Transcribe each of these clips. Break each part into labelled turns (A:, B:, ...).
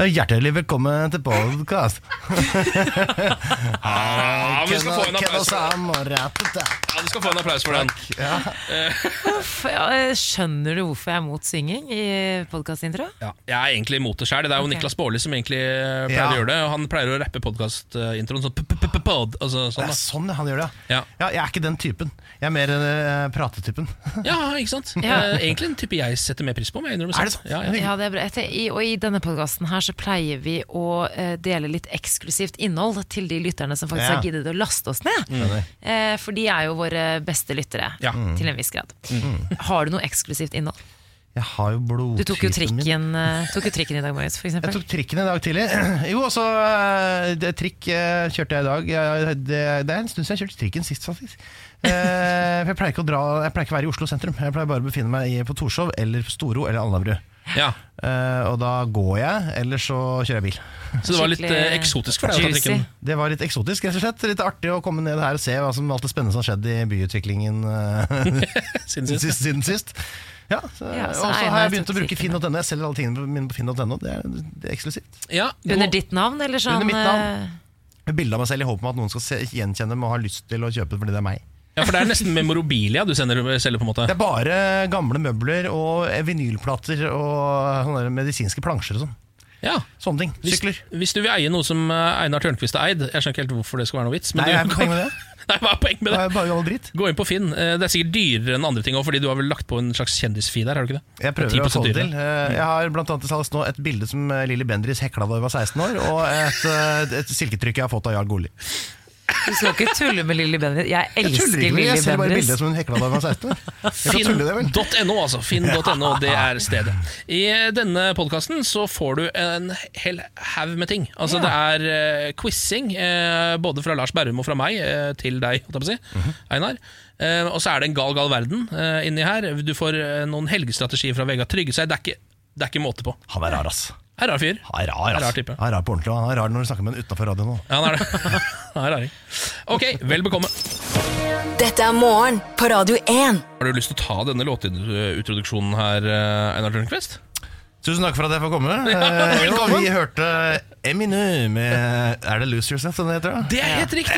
A: Hjertelig velkommen til podcast.
B: Ja, vi skal få en
A: Ken og
B: applaus,
A: Sam og Ratata.
B: ja, du skal få en applaus for den.
C: F- ja, eh, Skjønner du hvorfor jeg er mot synging i podkastintro?
B: Jeg er egentlig imot det sjøl. Det er jo
C: Ok.
B: Niklas Baarli som egentlig eh, pleier
A: Ja.
B: å gjøre det. Og han pleier å rappe podkastintroen sånn p-p-p-pod. Altså,
A: Det
B: sånn,
A: er
B: da.
A: sånn han gjør det.
B: Ja.
A: Ja, jeg er ikke den typen. Jeg er mer eh, pratetypen.
B: Ja, ikke sant?
C: Ja.
B: Eh, Egentlig en type jeg setter mer pris på. Men jeg innrømmer
A: Er det
B: sant?
A: sant?
B: Ja, ja.
C: Ja, det er bra. Jeg tenker- i- Og i denne podkasten her så pleier vi å eh, dele litt eksklusivt innhold til de lytterne som faktisk
A: Ja.
C: har giddet å laste oss ned. Eh, For de er jo våre beste lyttere,
B: Ja.
C: til en viss grad. Har du noe eksklusivt innhold?
A: Jeg har jo
C: Du
A: blodtypen
C: tok jo
A: min.
C: trikken, eh, tok jo trikken i dag morges, for
A: Jeg
C: eksempel.
A: tok trikken i dag tidlig. Jo, også eh, det, trikk eh, kjørte jeg i dag. Jeg- Det, det er en stund siden jeg kjørte trikken sist, faktisk. Eh, for jeg pleier, ikke å dra, jeg pleier ikke å være i Oslo sentrum. Jeg pleier bare å befinne meg i, på Torshov eller Storo eller Alnabru.
B: ja.
A: Eh, og da går jeg, eller så kjører jeg bil.
B: Så det var litt eh,
C: Skikkelig
B: eksotisk for deg å ta
C: juicy.
B: trikken.
A: Det var litt eksotisk, rett og slett. Litt artig å komme ned her og se hva som alt det spennende som har skjedd i byutviklingen eh,
B: Siden
A: siden,
B: sist.
A: sist, siden sist. Ja, så,
C: Ja, så
A: og så
C: Einar
A: har jeg begynt
C: tok
A: å bruke
C: trikken.
A: finn.no. Jeg selger alle tingene mine på finn.no. Det, er- det er eksklusivt.
B: Ja, god-
C: Under ditt navn, eller sånn?
A: Under mitt navn.
C: eh,
A: Med Bilde av meg selv i håp om at noen skal se, gjenkjenne dem og ha lyst til å kjøpe det fordi det er meg.
B: ja, for det er nesten memorabilia du sender, selger, på en måte.
A: Det er bare gamle møbler og eh, vinylplater og sånne der medisinske plansjer og sånn.
B: Ja.
A: Sånne ting.
B: Hvis,
A: Sykler.
B: hvis du vil eie noe som eh, Einar Tørnquist har eid Jeg skjønner ikke helt hvorfor det skal være noe vits. men
A: Nei,
B: du-
A: jeg er ikke poeng med det.
B: Nei, hva er poenget med
A: Det
B: det?
A: er bare all dritt.
B: Gå inn på Finn. Eh, Det er sikkert dyrere enn andre ting òg, fordi du har vel lagt på en slags kjendisfi der? har du ikke det?
A: Jeg
B: Det
A: prøver
B: er
A: å få
B: 10%
A: det til.
B: dyrere.
A: Eh, Jeg har blant annet til salgs nå et bilde som eh, Lilly Bendriss hekla da hun var 16 år, og et, eh, et silketrykk jeg har fått av Jarl Goli.
C: Du skal ikke tulle med Lilly Bendriss. Jeg
A: Jeg
C: elsker
A: tuller ikke, men
C: Lilly
A: jeg ser bare
C: Bendriss.
A: bildet som hun hekla da hun var 16 år. Jeg kan tulle det vel.
B: Finn.no, altså. Finn.no, det er stedet. I denne podkasten så får du en hel haug med ting. Altså Det er uh, quizing, eh, både fra Lars Berrum og fra meg, eh, til deg, holdt jeg på å si,
A: Mhm.
B: Einar. Eh, og så er det en gal, gal verden eh, inni her. Du får eh, noen helgestrategier fra Vegard Tryggeseid. Det, er ikke- det er ikke måte på.
A: Han er rar, ass.
B: Er rar fyr.
A: Han er rar,
B: Er
A: ass.
B: rar type.
A: Han er rar på ordentlig, og han er rar når du snakker med ham utafor radioen nå.
B: Ja, han er det. Han er raring. Ok, vel bekomme.
D: Dette er morgen på Radio 1.
B: Har du lyst til å ta denne låtintroduksjonen her, eh, Einar Tørnquist?
A: Tusen takk for at jeg får komme. Eh, jo, vi hørte Eminem med Er det Lose Yourself den heter? da?
B: Det er helt riktig!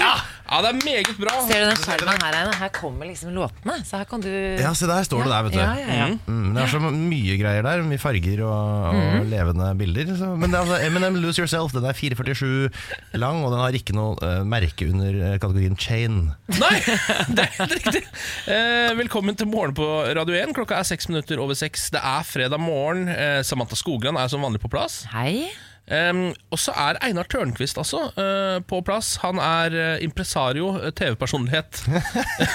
B: Ja, det er meget bra.
C: Ser du den skjermen her, Einar? Her kommer liksom låtene. Så her kan du
A: Ja, se der står det der, vet du.
C: Ja, ja, ja.
A: Mm, det er så mye greier der, mye farger og, og levende bilder. Så. Men det er altså Eminem Lose Yourself, den er 4,47 lang, og den har ikke noe eh, merke under eh, kategorien chain.
B: Nei, det er helt riktig. Eh, velkommen til Morgen på Radio 1. Klokka er seks minutter over seks. Det er fredag morgen. Eh, Samantha Skogran er som vanlig på plass.
C: Hei.
B: Em, og så er Einar Tørnquist altså eh, på plass. Han er eh, impresario, eh, TV-personlighet. Jeg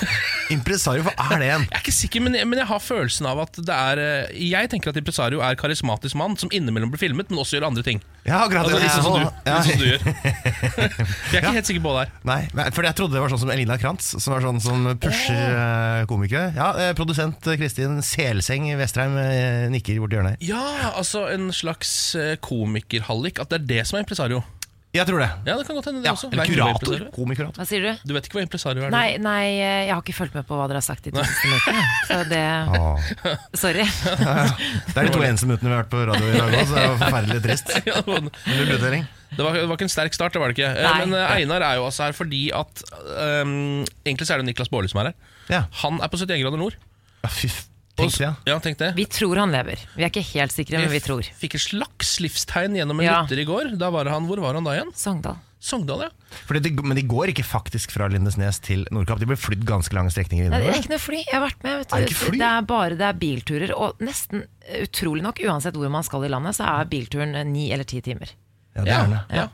A: Impresario, hva er det igjen?
B: er ikke sikker, men jeg, men jeg har følelsen av at det er eh, Jeg tenker at impresario er karismatisk mann som innimellom blir filmet, men også gjør andre ting.
A: Ja, akkurat
B: Altså,
A: det.
B: litt sånn som
A: Ja.
B: du, litt sånn som du gjør. Jeg er ikke helt sikker på det her.
A: Nei, nei, fordi jeg trodde det var sånn som Elina Krantz, som er sånn som pusher eh, komikere. Ja, eh, Produsent eh, Kristin Selseng Vestreim eh, nikker borti hjørnet her.
B: Ja, altså en slags eh, komikerhallik. At det er det som er impresario.
A: Jeg tror det.
B: Ja, det kan godt hende det
A: Ja,
B: også.
A: eller
B: Vet ikke hva
A: kurator.
B: impresario er.
A: Komikurator.
C: Hva sier du?
B: Du vet ikke hva impresario er? du?
C: Nei, nei, eh, jeg har ikke fulgt med på hva dere har sagt de to siste minuttene. Så det
A: Åh.
C: Sorry.
A: Det er de to eneste minuttene vi har vært på radio i dag òg, så det var forferdelig trist.
B: Ja, det var-
A: Null utdeling.
B: Det var, det var ikke en sterk start, det var det ikke. Eh,
C: Nei.
B: Men eh, Einar er jo altså her fordi at ehm, Egentlig så er det Niklas Baarli som er her.
A: Ja.
B: Han er på 71 grader nord.
A: Ja, fy f-
B: Og
A: Tenk
B: s-
A: det, ja.
B: Ja, tenk det.
C: Vi tror han lever. Vi er ikke helt sikre, men vi tror.
B: Fikk et slags livstegn gjennom en
C: Ja.
B: lytter i går. Da var han, Hvor var han da igjen?
C: Sogndal.
B: Sogndal, ja.
A: Fordi de, men de går ikke faktisk fra Lindesnes til Nordkapp. De blir flydd ganske lange strekninger
C: Nei, det er
A: innover.
C: ikke noe fly. Jeg har vært med. Vet
A: Er
C: du.
A: det ikke fly?
C: Det er bare det er bilturer. Og nesten eh, utrolig nok, uansett hvor man skal i landet, så er bilturen eh, ni eller ti timer.
A: Ja, det
B: Ja,
A: er det.
B: ja.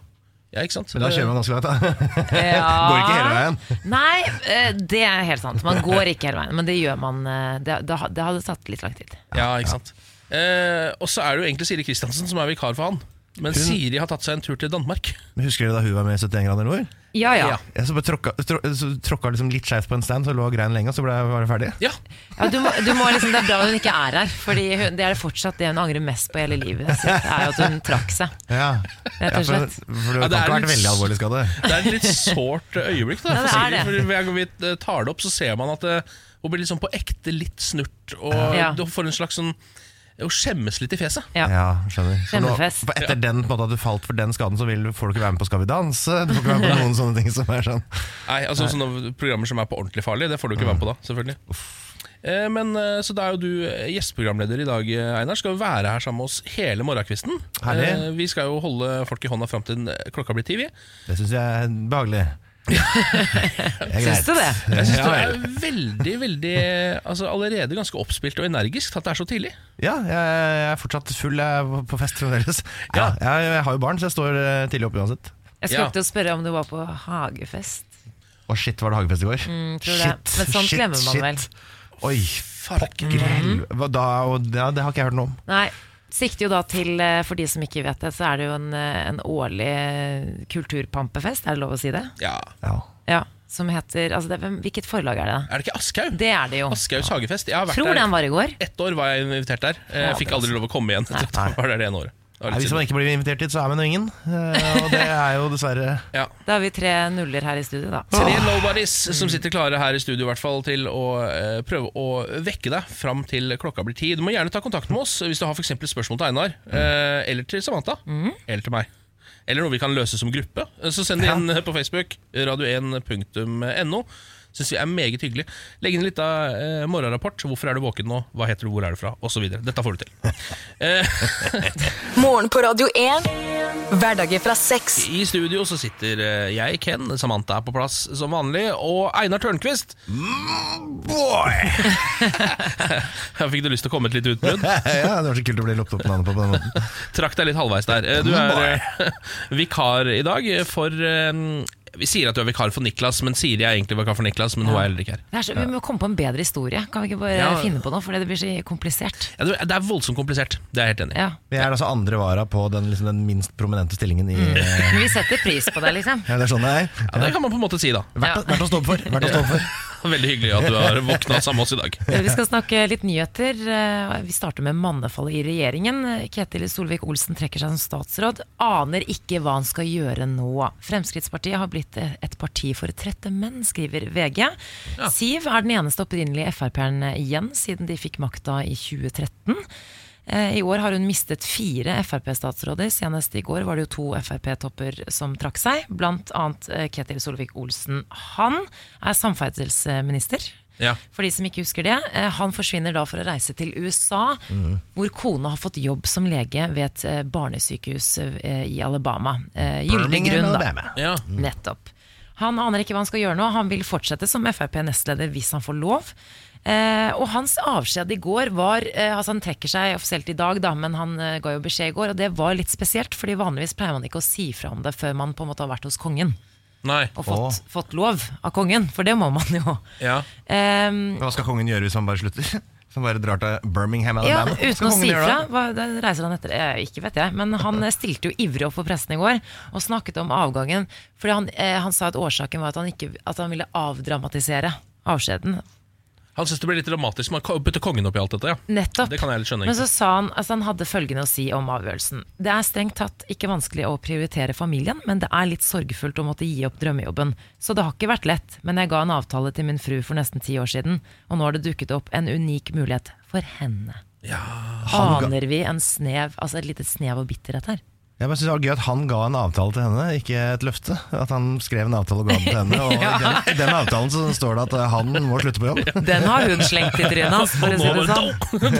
B: ja ikke sant?
A: Men da kjører man ganske langt, da.
C: Ja.
A: Går ikke hele veien.
C: Nei, eh, det er helt sant. Man går ikke hele veien, men det gjør man. eh, Det, det, ha- det hadde tatt litt lang tid.
B: Ja, ikke sant. Eh, og så er det jo egentlig Siri Kristiansen som er vikar for han. Men Siri har tatt seg en tur til Danmark.
A: Men Husker dere da hun var med i 71 grader nord?
C: Ja, ja.
B: Ja.
A: Jeg så bare tråkka, trå, så tråkka liksom litt skeivt på en stand, så lå og grein lenge, og så ble jeg bare ferdig.
B: Ja,
C: ja du må, du må liksom, det er bra hun ikke er her, Fordi hun, det er det fortsatt det hun angrer mest på i hele livet. sitt. Det er jo at hun trakk seg.
A: Ja,
C: Rett og
A: for,
C: slett.
A: for du kan ikke
B: Ja, det er
A: ha vært
B: litt-
A: veldig alvorlig skade.
B: Det er et litt sårt øyeblikk da,
C: Ja,
B: for
C: det er
B: Siri.
C: det.
B: For Hver gang vi eh, tar det opp, så ser man at eh, hun blir liksom på ekte litt snurt. Og
C: Ja.
B: du får en slags sånn Hun skjemmes litt i fjeset.
C: Ja.
A: Ja, skjønner. Så nå,
C: Kjempefest.
A: for etter den på en måte at du falt for den skaden, så vil, får du ikke være med på Skal vi danse. Du får ikke være med på noen sånne ting som er sånn.
B: Nei, altså sånne programmer som er på ordentlig farlig, det får du ikke være med på da, selvfølgelig. Eh, Men, eh, så da er jo du eh, gjesteprogramleder i dag, eh, Einar. Skal jo være her sammen med oss hele morgenkvisten.
A: Herlig.
B: Eh, Vi skal jo holde folk i hånda fram til eh, klokka blir ti, vi.
A: Det syns jeg er behagelig. Det er
C: Syns du det?
B: Jeg syns
A: Ja,
B: du er veldig, veldig altså Allerede ganske oppspilt og energisk at det er så tidlig.
A: Ja, jeg, jeg er fortsatt full jeg er på fest fremdeles. Ja,
B: Ja.
A: jeg, jeg har jo barn, så jeg står eh, tidlig opp uansett.
C: Jeg skulle
B: Ja.
C: til å spørre om du var på hagefest.
A: Å, shit, var det hagefest i går?
C: Mm, tror det. Men sånt glemmer man vel. Mhm.
A: Oi, pokker helv- Hva da, og, ja, Det har ikke jeg hørt noe om.
C: Nei, sikter jo da til, eh, for de som ikke vet det, så er det jo en, eh, en årlig eh, kulturpampefest, er det lov å si det?
B: Ja,
A: Ja.
C: Ja, som heter, altså det, hvem, Hvilket forlag er det? da?
B: Er det ikke Aschhaug?
C: Det er det jo.
B: Aschehougs hagefest. Jeg har vært
C: Tror
B: der
C: den var altså. i går.
B: ett år var jeg invitert der. Eh, Jeg fikk aldri lov å komme igjen. etter at jeg var der det ene året. Det var
A: Nei,
B: litt
A: hvis man
B: synd.
A: ikke blir invitert dit, så er man jo ingen. Eh, Og det er jo dessverre
B: Ja.
C: Da har vi tre nuller her i studio, da.
B: Tre nobodies som sitter klare her i studio i hvert fall til å eh, prøve å vekke deg fram til klokka blir ti. Du må gjerne ta kontakt med oss hvis du har for eksempel spørsmål til Einar. eh, Eller til Samantha. Eller til meg. Eller noe vi kan løse som gruppe. Eh, Så send det inn eh, på Facebook. Radio1.no. Syns vi er meget hyggelig. Legg inn litt av eh, morgenrapport. Hvorfor er du våken nå? Hva heter du? Hvor er du fra? Og så videre. Dette får du til. Eh,
D: Morgen på Radio 1. Hverdager fra seks.
B: I studio så sitter eh, jeg, Ken, Samantha er på plass som vanlig, og Einar Tørnquist. Her fikk du lyst til å komme et lite utbrudd?
A: Ja, det var så kult å bli loppet opp navnet på på den måten.
B: Trakk deg litt halvveis der. Eh, Du er eh, vikar i dag for eh, Vi sier at du er vikar for Niklas, men Siri er egentlig vikar for Niklas, men hun er heller ikke her.
C: Det er så, vi må komme på en bedre historie. Kan vi ikke bare
B: Ja.
C: finne på noe, for det blir så komplisert.
B: Ja, du- Det er voldsomt komplisert, det er jeg helt enig i.
C: Ja.
A: Men Jeg er altså andre vara på den, liksom, den minst prominente stillingen i eh,
C: Men vi setter pris på det, liksom.
A: Ja, det er sånn det er.
B: Ja, det kan man på en måte si, da.
A: Verdt, å- verdt å stå opp for. Verdt å stå opp for.
B: Veldig hyggelig at du har våkna sammen med oss i dag.
C: Eh, Vi skal snakke litt nyheter. Eh, Vi starter med mannefallet i regjeringen. Ketil Solvik-Olsen trekker seg som statsråd. Aner ikke hva han skal gjøre nå. Fremskrittspartiet har blitt et parti for trette menn, skriver VG. Siv er den eneste opprinnelige Frp-eren igjen siden de fikk makta i 2013. Eh, I år har hun mistet fire Frp-statsråder. Senest i går var det jo to Frp-topper som trakk seg, blant annet eh, Ketil Solvik-Olsen. Han er samferdselsminister.
B: Ja.
C: For de som ikke husker det, eh, han forsvinner da for å reise til USA, hvor kona har fått jobb som lege ved et eh, barnesykehus eh, i Alabama. Eh, Gyldig grunn, da.
B: Ja.
C: Nettopp. Han aner ikke hva han skal gjøre nå. Han vil fortsette som Frp-nestleder hvis han får lov. Eh, og hans avskjed i går var eh, Altså Han trekker seg offisielt i dag, da, men han eh, ga jo beskjed i går. Og det var litt spesielt, Fordi vanligvis pleier man ikke å si fra om det før man på en måte har vært hos kongen
B: Nei.
C: og fått, fått lov av kongen. For det må man jo.
B: Ja.
C: Eh,
A: Hva skal kongen gjøre hvis han bare slutter? Hvis han bare drar til Birmingham
C: Ja,
A: Alabama? Skal
C: uten å
A: kongen
C: si
A: gjøre
C: fra.
A: det?
C: Hva, da reiser han etter eh, Ikke vet jeg, men han eh, stilte jo ivrig opp for pressen i går og snakket om avgangen. Fordi han, eh, han sa at årsaken var at han, ikke, at han ville avdramatisere avskjeden.
B: Han syns det blir litt dramatisk. Man ko- putter kongen opp i alt dette, ja.
C: Nettopp.
B: Det kan jeg litt skjønne.
C: Men så sa han altså han hadde følgende å si om avgjørelsen. Det er strengt tatt ikke vanskelig å prioritere familien, men det er litt sorgfullt å måtte gi opp drømmejobben. Så det har ikke vært lett, men jeg ga en avtale til min fru for nesten ti år siden, og nå har det dukket opp en unik mulighet for henne. Aner vi en snev, altså et lite snev av bitterhet her?
A: Jeg bare synes det var gøy at han ga en avtale til henne, ikke et løfte. At han skrev en avtale og ga den til henne. Og i den, i den avtalen så står det at eh, han må slutte på jobb.
C: Den har hun slengt i trynet hans, for å si det sånn.
B: Det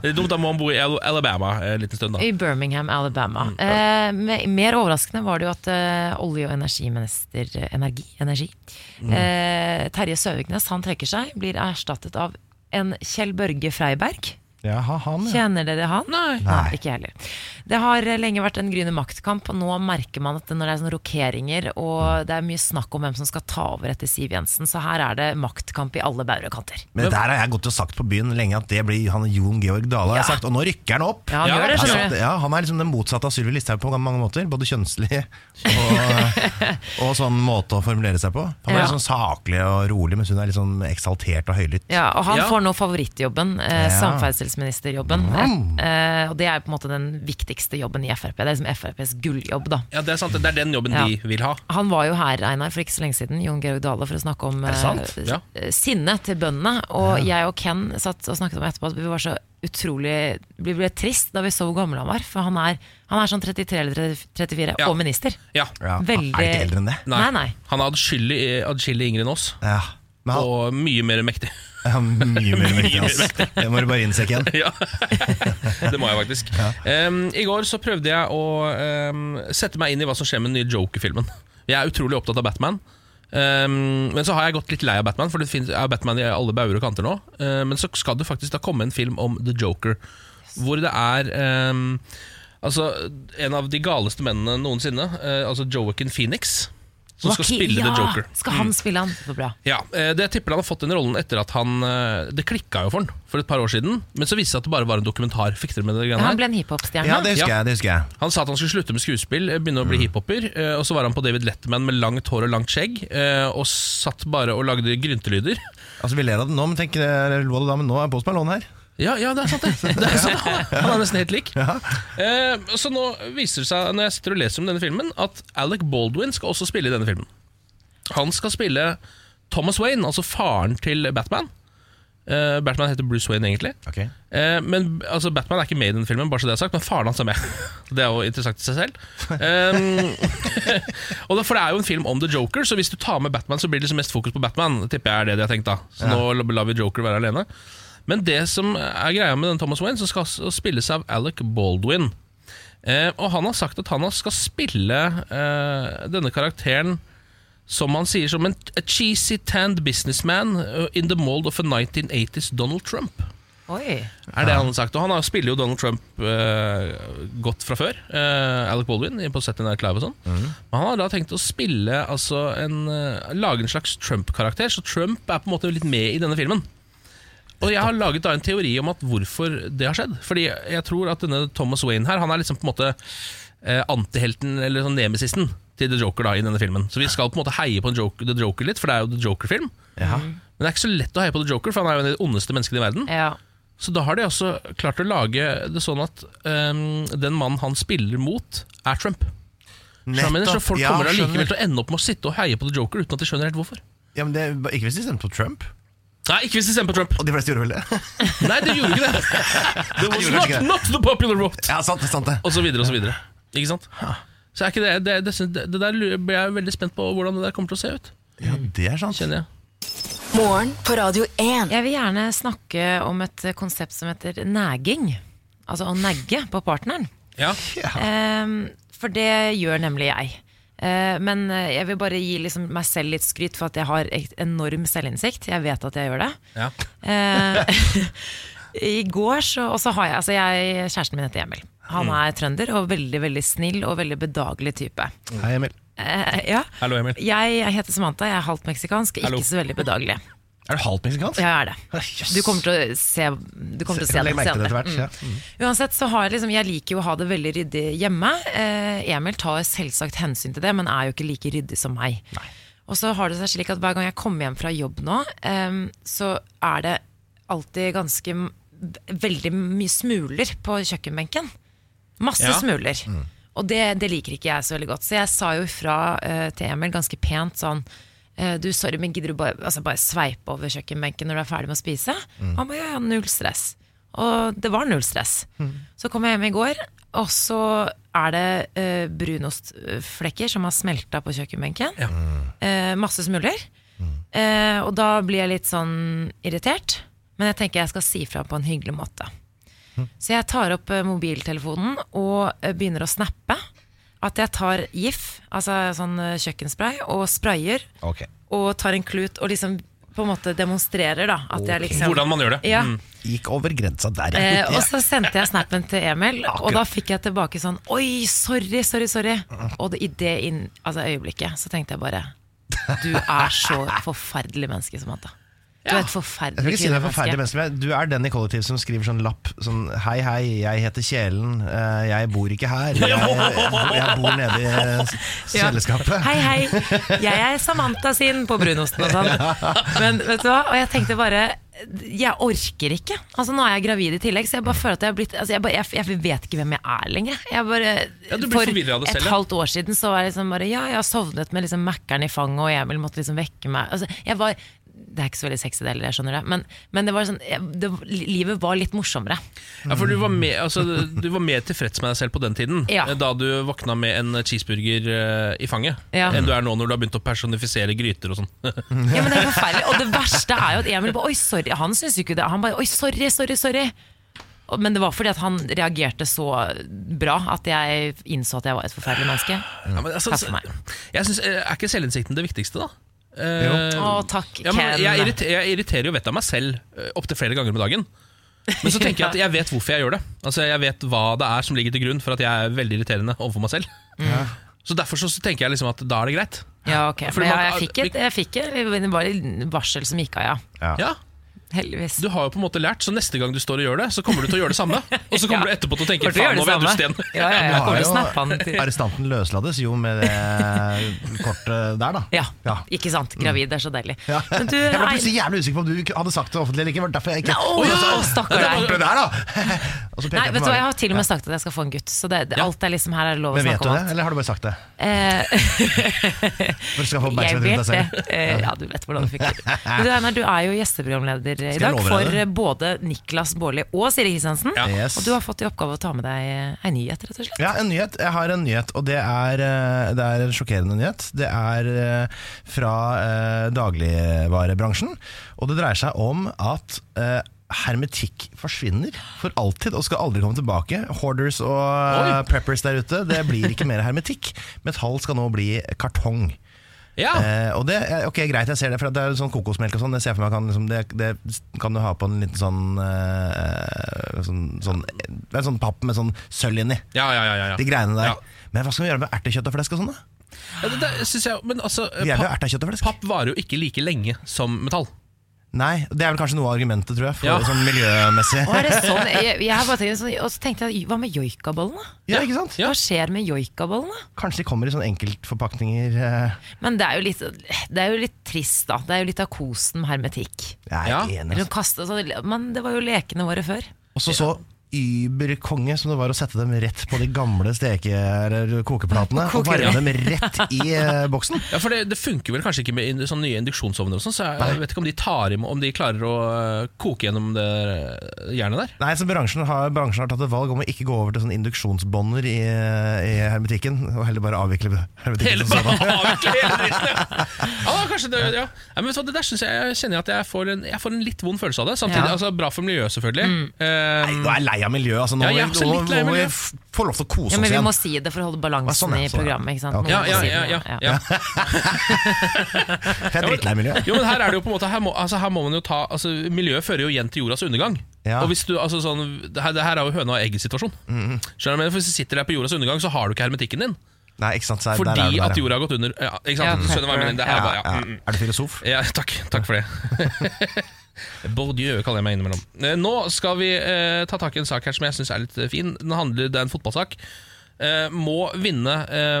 B: er dumt, da må han bo i Al- Alabama eh, en liten stund, da.
C: I Birmingham, Alabama. Eh, me- mer overraskende var det jo at eh, olje- og energiminister eh, Energi, energi. Mm. Eh, Terje Søviknes han trekker seg, blir erstattet av en Kjell Børge Freiberg.
E: Jaha, han, ja.
C: Kjenner dere han?
B: Nei.
C: Ikke jeg heller. Det har eh, lenge vært en gryende maktkamp, og nå merker man at når det er sånne rokeringer og det er mye snakk om hvem som skal ta over etter Siv Jensen, så her er det maktkamp i alle bauger og kanter.
A: Men der har jeg gått og sagt på byen lenge at det blir han Jon Georg Dale. har sagt, og nå rykker han opp!
C: Ja, han
B: Ja,
C: gjør det,
A: Altså,
C: skjønner du.
A: ja, han er liksom den motsatte av Sylvi Listhaug på mange måter. Både kjønnslig og, og sånn måte å formulere seg på. Han er
C: Ja.
A: litt sånn saklig og rolig, mens hun er litt sånn eksaltert og høylytt.
C: Ja, og han
B: Ja.
C: får nå favorittjobben, eh,
A: Ja. Mm.
C: samferdselsministerjobben. Eh, og det er på en måte den viktigste jobben i Frp. Det er liksom FrPs gulljobb, da.
B: Ja, det er sant. Det er den jobben
C: Ja.
B: de vil ha.
C: Han var jo her Einar, for ikke så lenge siden, Jon Georg Dale, for å snakke om eh,
A: sant?
B: Ja.
C: eh, sinne til bøndene. Og jeg og Ken satt og snakket om etterpå at vi var så utrolig Vi ble trist da vi så hvor gammel han var. For han er, han er sånn 33 eller 34,
B: Ja.
C: og minister.
B: Ja.
A: Ja,
C: Veldig-
A: Er det ikke eldre enn det?
B: Nei.
C: Nei, nei.
B: Han er adskillig adskillig yngre enn oss,
A: Ja. Men han,
B: og mye mer mektig.
A: ja, mye mer mektig, ass. Det må du bare innse, Ken.
B: Ja, Det må jeg faktisk. Em, I går så prøvde jeg å em, sette meg inn i hva som skjer med den nye Joker-filmen. Jeg er utrolig opptatt av Batman. Em, men så har jeg gått litt lei av Batman, for det finnes, er Batman i alle bauger og kanter nå. Eh, men så skal det faktisk da komme en film om The Joker, hvor det er em, Altså, en av de galeste mennene noensinne, eh, altså Joaquin Phoenix, som skal
C: Joaquin-
B: spille
C: ja,
B: The Joker.
C: Skal
A: Mm.
C: han spille han? Så bra.
B: Ja, eh, det tipper han har fått den rollen etter at han eh, Det klikka jo for han for et par år siden, men så viste det seg at det bare var en dokumentar. Fikk dere med det greiene
C: Han
B: her?
C: ble en hiphop-stjerne.
A: Ja, det husker
B: Ja.
A: jeg. det husker jeg
B: Han sa at han skulle slutte med skuespill, eh, begynne å bli hiphoper, eh, og så var han på David Letterman med langt hår og langt skjegg, eh, og satt bare og lagde gryntelyder.
A: Altså Vi ler av det nå, men tenk, eller lo av det da, men nå er Post Malone her.
B: Ja, ja, det er sant, det. det er sant. Han er- Han er nesten helt lik. Eh, Så nå viser det seg, når jeg sitter og leser om denne filmen, at Alec Baldwin skal også spille i denne filmen. Han skal spille Thomas Wayne, altså faren til Batman. Eh, Batman heter Bruce Wayne, egentlig. Eh, men altså, Batman er ikke med i den filmen, bare så det er sagt, men faren hans er med. Det er jo interessant i seg selv. Um, og det, for det er jo en film om The Joker, så hvis du tar med Batman, så blir det liksom mest fokus på Batman. Tipper jeg er det de har tenkt da Så nå lar vi Joker være alene. Men det som er greia med den Thomas Wayne, som skal s- spilles av Alec Baldwin. Eh, og han har sagt at han skal spille eh, denne karakteren som han sier som en, a cheesy tanned businessman eh, in the mold of a 1980s Donald Trump
C: Oi.
B: er det han har sagt. Og han har- spiller jo Donald Trump eh, godt fra før. eh, Alec Baldwin i- på Saturday Night Live og sånn. Men han har da tenkt å spille altså, en, eh, lage en slags Trump-karakter, så Trump er på en måte litt med i denne filmen. Og jeg har laget da en teori om at hvorfor det har skjedd. Fordi jeg tror at denne Thomas Wayne her, han er liksom på en måte eh, antihelten, eller sånn nemesisten, til The Joker da i denne filmen. Så vi skal på en måte heie på en Joker, The Joker litt, for det er jo The Joker-film. Men det er ikke så lett å heie på The Joker, for han er jo en av de ondeste menneskene i verden.
C: Ja.
B: Så da har de også klart å lage det sånn at ehm, den mannen han spiller mot, er Trump. Så, jeg mener, så folk
A: Ja,
B: kommer
A: skjønner.
B: allikevel til å ende opp med å sitte og heie på The Joker uten at de skjønner helt hvorfor.
A: Ja, men det, Ikke hvis de stemte på Trump.
B: Nei, ikke hvis de stemmer på Trump!
A: Og de fleste gjorde vel det?
B: Nei, det gjorde ikke det!
A: Det
B: It's not, not the popular vote!
A: Ja, sant det, sant det.
B: Og så videre og så videre. Ikke sant? Så er ikke det, det, det, det, det der lurer- blir jeg veldig spent på hvordan det der kommer til å se ut.
A: Ja, det er sant.
B: Kjenner jeg.
D: Morgen på Radio 1.
C: Jeg vil gjerne snakke om et eh, konsept som heter nagging. Altså å nagge på partneren.
B: Ja.
C: Ehm, for det gjør nemlig jeg. Eh, men eh, jeg vil bare gi liksom meg selv litt skryt for at jeg har et enorm selvinnsikt. Jeg vet at jeg gjør det.
B: Ja.
C: Eh, I går så Og så har jeg, altså jeg Kjæresten min heter Emil. Han er trønder og veldig veldig snill og veldig bedagelig type.
A: Hei, Emil.
C: Eh, ja.
B: Hallo, Emil.
C: Jeg heter Samantha, jeg er halvt meksikansk,
B: Hallo.
C: ikke så veldig bedagelig.
A: Er du halvt meksikansk?
C: Jeg er det.
A: Jøss.
C: Du kommer til å se, du kommer til å se
A: Legg
C: det
A: merke til det
C: senere. Mm.
A: etter hvert. Ja.
C: Uansett så har jeg liksom, jeg liker jo å ha det veldig ryddig hjemme. Eh, Emil tar selvsagt hensyn til det, men er jo ikke like ryddig som meg. Og så har det seg slik at hver gang jeg kommer hjem fra jobb nå, eh, så er det alltid ganske m- veldig mye smuler på kjøkkenbenken. Masse
B: Ja.
C: smuler. Og det, det liker ikke jeg så veldig godt. Så jeg sa jo fra eh, til Emil ganske pent sånn eh, Du, sorry, men gidder du bare, altså bare sveipe over kjøkkenbenken når du er ferdig med å spise? Han bare ja, ja, null stress. Og det var null stress. Så kom jeg hjem i går, og så er det eh, brunostflekker som har smelta på kjøkkenbenken.
B: Ja.
C: Eh, masse smuler. Eh, og da blir jeg litt sånn irritert. Men jeg tenker jeg skal si fra på en hyggelig måte. Så jeg tar opp eh, mobiltelefonen og eh, begynner å snappe. At jeg tar GIF, altså sånn eh, kjøkkenspray, og sprayer.
A: Ok.
C: Og tar en klut og liksom på en måte demonstrerer, da. At jeg liksom
B: Hvordan man gjør det.
C: Ja.
B: Mm.
A: Gikk over grensa der,
C: Eh,
A: ja.
C: og så sendte jeg snappen til Emil, og da fikk jeg tilbake sånn Oi, sorry, sorry, sorry.
A: Mhm.
C: Og det, i det inn, altså, øyeblikket så tenkte jeg bare Du er så forferdelig menneske, Samantha. Du er et
A: Jeg vil
C: forferdelig
A: ikke si det er forferdelig
C: kvinnemenneske.
A: menneske, men Du er den i kollektiv som skriver sånn lapp sånn Hei, hei, jeg heter Kjelen. eh, Jeg bor ikke her. Jeg, jeg bor nede i eh, s-
C: Ja.
A: kjøleskapet.
C: Hei, hei. Jeg er Samantha sin på brunosten og sånn. Men vet du hva? Og jeg tenkte bare Jeg orker ikke. Altså Nå er jeg gravid i tillegg, så jeg bare føler at jeg har blitt altså, jeg, bare, jeg, jeg vet ikke hvem jeg er lenger. Jeg bare,
B: Ja, du blir
C: for
B: forvirret av det selv,
C: et
B: ja.
C: halvt år siden så var jeg liksom bare Ja, jeg har sovnet med liksom Mækkern i fanget, og Emil måtte liksom vekke meg. Altså, jeg var det er ikke så veldig sexy, det heller, jeg skjønner det. Men, men det var sånn, jeg, det, livet var litt morsommere.
B: Ja, for du var, mer- altså, du var mer tilfreds med deg selv på den tiden, eh,
C: Ja.
B: da du våkna med en cheeseburger eh, i fanget,
C: Ja.
B: enn du er nå når du har begynt å personifisere gryter og sånn.
C: Ja, men det er forferdelig Og det verste er jo at Emil bare, Oi, sorry Han synes jo ikke det Han bare, oi, sorry, sorry, sorry Og- men det var fordi at han reagerte så bra At jeg innså at jeg var et forferdelig menneske
B: Ja, men altså,
C: Takk for meg.
B: jeg synes, eh, er ikke selvinnsikten det viktigste, da? Eh,
C: Å, takk,
B: ja, men
C: Ken
B: jeg, irriter, jeg irriterer jo vettet av meg selv eh, opptil flere ganger om dagen. Men så tenker jeg at jeg vet hvorfor jeg gjør det. Altså Jeg vet hva det er som ligger til grunn for at jeg er veldig irriterende overfor meg selv. Så derfor så tenker jeg liksom at da er det greit.
C: Ja, ok
B: Fordi
C: Men ja,
B: man-
C: jeg fikk et Jeg fikk et Det var en varsel som gikk av, ja
B: Ja,
C: Heldigvis
B: Du har jo på en måte lært, så neste gang du står og gjør det, så kommer du til å gjøre det samme. Og så kommer
C: Ja.
B: du etterpå til å tenke
C: Kommer til å
B: faen, nå
C: gjøre
B: var jeg
C: det
B: dust igjen.
C: samme. Ja, ja, ja.
A: Vi
C: Jeg
A: har
C: kommer til å snappe han
A: jo-
C: til
A: Arrestanten løslades jo med det kortet der, da.
C: ja, ikke sant? Gravid det er så deilig
A: Ja.
C: Men du,
A: jeg var
C: Ein-
A: plutselig jævlig usikker på om du ikke hadde sagt det offentlig eller ikke. Det var derfor jeg ikke
C: Åh,
A: Oi, altså,
C: stakkar
A: det
C: deg.
A: kortet der, da! Og så peker
C: Nei,
A: jeg på
C: vet du hva?
A: meg.
C: Jeg har til og med sagt at jeg skal få en gutt Så det, det, alt er liksom her er det lov å
A: Men vet
C: snakke
A: du
C: om
A: det,
C: alt
A: eller har du bare sagt det?
C: Eh,
A: For du skal få
C: Jeg
A: oppmerksomhet rundt deg
C: vet det.
A: selv.
C: Eh, Ja, du vet hvordan du fikk det. Men Du, Einar, du er jo gjesteprogramleder i
A: jeg
C: dag
A: love deg
C: for
A: det?
C: eh, både Niklas Baarli og Siri Kristiansen.
B: Ja.
A: Yes.
C: Og du har fått i oppgave å ta med deg eh, ei nyhet, rett og slett.
A: Ja, en nyhet. Jeg har en nyhet, og det er, eh, det er en sjokkerende nyhet. Det er eh, fra eh, dagligvarebransjen, og det dreier seg om at eh, Hermetikk forsvinner for alltid og skal aldri komme tilbake. Hoarders og eh, preppers der ute, det blir ikke mer hermetikk. Metall skal nå bli kartong.
B: Ja,
A: Eh, og det, er- ok, Greit, jeg ser det, for at det er jo sånn kokosmelk og sånn. Jeg ser for meg kan, liksom, det, det kan du ha på en liten sånn, eh, sånn, sånn Det er en sånn papp med sånn sølv inni.
B: ja, ja, ja, ja, ja.
A: De greiene der.
B: Ja.
A: Men hva skal vi gjøre med ertekjøtt og flesk og sånn, da?
B: Ja, det, det synes jeg, men altså,
A: Vi er jo
B: papp,
A: ertekjøtt og flesk.
B: papp varer jo ikke like lenge som metall.
A: Nei, det er vel kanskje noe av argumentet, tror jeg, for
B: Ja.
A: sånn miljømessig.
C: Og, er det sånn? jeg, jeg har bare tenkt sånn, og så tenkte jeg, hva med joikabollene?
A: Ja, ikke sant?
B: Ja.
C: Hva skjer med joikabollene?
A: Kanskje de kommer i sånne enkeltforpakninger eh,
C: Men det er, jo litt, det er jo litt trist, da. Det er jo litt av kosen med hermetikk.
A: Jeg er
B: Ja.
A: enig.
C: Eller å
A: Altså.
C: kaste, sånn, men det var jo lekene våre før.
A: Og så så überkonge som det var å sette dem rett på de gamle steke- eller kokeplatene og varme
B: ja.
A: dem rett i eh, boksen.
B: Ja, for det, det funker vel kanskje ikke med in- sånne nye induksjonsovner, og sånn, så jeg, jeg vet ikke om de, tar im- om de klarer å øh, koke gjennom det øh, jernet der.
A: Nei, så bransjen har, bransjen har tatt et valg om å ikke gå over til sånne induksjonsbånder i, eh, i hermetikken, og heller bare avvikle hermetikken.
B: Hele
A: som sånn. sådan.
B: bare avvikle hele dritten, ja. ja, kanskje det, ja. Nei, men vet du hva, det der synes jeg, jeg kjenner jeg at jeg får, en, jeg får en litt vond følelse av det. Samtidig,
C: Ja. Mm.
B: altså bra for miljøet selvfølgelig. Eh,
A: Nå er jeg lei av miljøet. Altså, nå
B: Ja, jeg er
A: må vi-
B: også
A: nå
B: litt lei av
A: må vi
B: miljø.
A: f- få lov til å kose
C: Ja,
A: oss
C: Men vi
A: igjen.
C: må si det for å holde balansen
A: Sånn, ja,
C: i
A: sånn, ja.
C: programmet. ikke sant? Noen
B: ja,
C: må
B: ja,
C: si
B: ja,
C: det,
B: ja,
C: ja.
B: ja.
A: For jeg er dritlei miljøet.
B: Jo, men her er det jo på en måte Her må, altså, her må man jo ta altså, Miljøet fører jo igjen til jordas undergang.
A: Ja. Mm-hmm.
B: Og hvis du, altså sånn Det her, det her er jo høna og egget-situasjon. Skjønner du, men Hvis du sitter der på jordas undergang, så har du ikke hermetikken din.
A: Nei, ikke sant? så der er
B: Fordi
A: du der,
B: at
A: ja.
B: jorda har gått under. Ja, ikke sant?
C: Ja,
B: Du skjønner hva jeg mener. Det
C: ja,
B: er bare, ja.
A: ja.
B: Mm, mm.
A: Er du filosof?
B: Ja, takk, takk for det. Bourdieu kaller jeg meg innimellom. Eh, Nå skal vi eh, ta tak i en sak her som jeg syns er litt eh, fin. Den handler, Det er en fotballsak. Eh, må vinne eh,